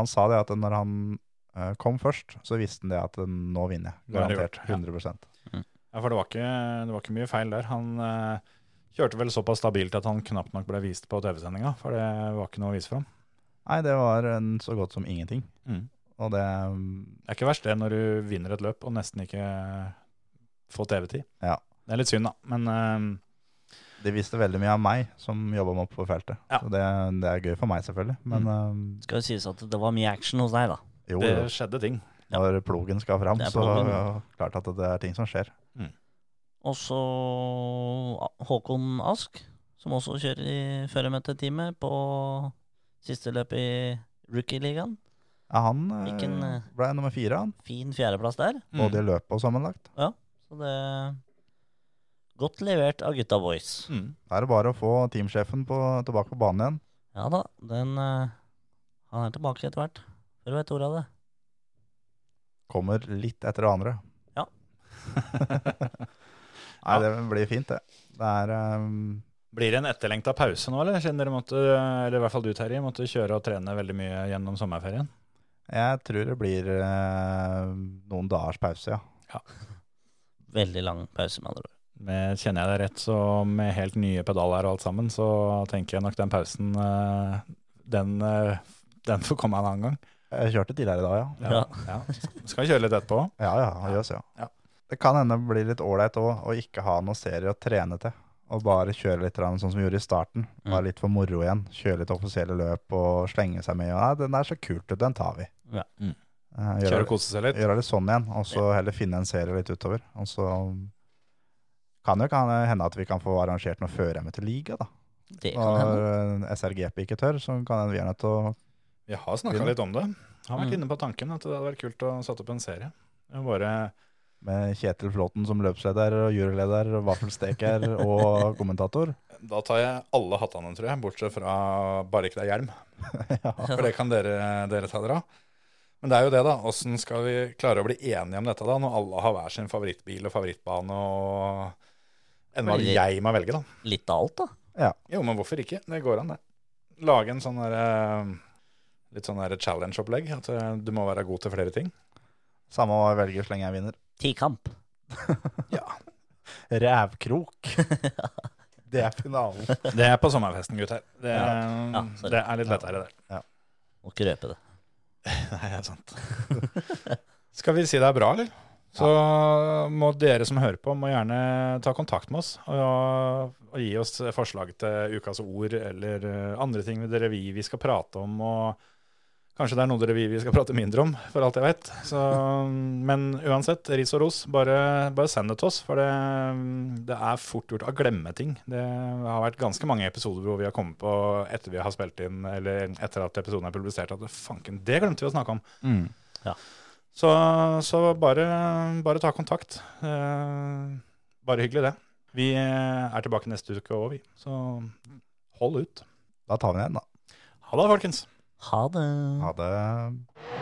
Han sa det at når han eh, kom først, så visste han det at eh, nå vinner jeg. Nå er det Garantert. gjort, ja. 100 Ja, for det var ikke, det var ikke mye feil der. Han eh, kjørte vel såpass stabilt at han knapt nok ble vist på TV-sendinga, for det var ikke noe å vise fram. Nei, det var en så godt som ingenting. Mm. Og det mm, Det er ikke verst det når du vinner et løp og nesten ikke får TV-tid. Ja. Det er litt synd, da. Men eh, De visste veldig mye av meg som jobba med oppe på feltet. Ja. Mm. Så det, det er gøy for meg, selvfølgelig. Men eh, Skal jo sies at det var mye action hos deg, da. jo, det jo, skjedde ting. når plogen skal fram, Det er så plogen. eh, klart at det er ting som skjer. Og så ah, Håkon Ask, som også kjører i førermøteteamet på siste løp i rookie-ligaen. Ja, han eh, Hvilken, eh, Mm. ble nummer fire, han. Mm. Fin fjerdeplass der. Både i løpet og sammenlagt. Så det Godt levert av gutta boys. Mm. Da er det bare å få teamsjefen på, tilbake på banen igjen. Ja da, den eh, Han er tilbake etter hvert. Før du vet ordet av det. Kommer litt etter det andre. Ja. Nei, det blir fint, det. Det er ehm, Blir det en etterlengta pause nå, eller? Siden dere måtte, eh, eller i hvert fall du Terje, måtte kjøre og trene veldig mye gjennom sommerferien. Jeg tror det blir eh, noen dagers pause, ja. Veldig lang pause, med andre ord. Med, kjenner jeg deg rett, så med helt nye pedaler og alt sammen, så tenker jeg nok den pausen, eh, den, eh, den får komme en annen gang. Jeg kjørte tidligere i dag, ja. Ja. Ja. Skal vi kjøre litt etterpå? Ja, ja, han gjør så, Ja. ja. Det kan hende det blir litt ålreit òg å ikke ha noen serier å trene til. Og bare kjøre litt grann sånn som vi gjorde i starten. Bare litt for moro igjen. Kjøre litt offisielle løp og slenge seg med. Og, Nei, den er så kult ut, den tar vi. Ja. Mm. Eh, Kjøre Gjøre og kose seg litt? gjøre det sånn igjen, og så heller finne en serie litt utover. Og så kan det jo kan hende at vi kan få arrangert noe før-ME til liga, da. Det kan hende. Når eh, SRGP ikke tør, så kan hende vi er nødt til å Vi har snakka litt om det. Han har vært Mm. inne på tanken at det hadde vært kult å sette opp en serie. Det er Bare Med Kjetil Flåten som løpsleder og juryleder, og vaffelsteker og kommentator. Da tar jeg alle hattene, tror jeg, bortsett fra bare ikke det er hjelm. For det kan dere, dere ta dere av. Men det er jo det, da. Åssen skal vi klare å bli enige om dette da, når alle har hver sin favorittbil og favorittbane og enn hva Blir det- jeg må velge, da. Litt av alt, da. Jo, men hvorfor ikke? Det går an, det. Lage en sånn derre Litt sånn derre challenge-opplegg. At eh, du må være god til flere ting. Samme hva jeg velger, så lenge jeg vinner. Tikamp. Rævkrok. Det er finalen. Det er på sommerfesten, gutter. Det, eh, Ja, sorry. det er litt lettere, det. Må ikke røpe det. Nei, det er sant. Skal vi si det er bra, eller? Så må dere som hører på, må gjerne ta kontakt med oss og, og gi oss forslag til ukas ord eller eh, andre ting dere vil vi skal prate om. og Kanskje det er noe dere vil vi skal prate mindre om, for alt jeg vet. Så, men uansett, ris og ros, bare, bare send det til oss. For det, det er fort gjort å glemme ting. Det har vært ganske mange episoder hvor vi har kommet på etter vi har spilt inn, eller etter at episoden er publisert, at fanken, det glemte vi å snakke om. Så, så bare, bare ta kontakt. Eh, bare hyggelig, det. Vi er tilbake neste uke òg, vi. Så hold ut. Da tar vi den, da. Ha det, folkens. Ha det. Ha det.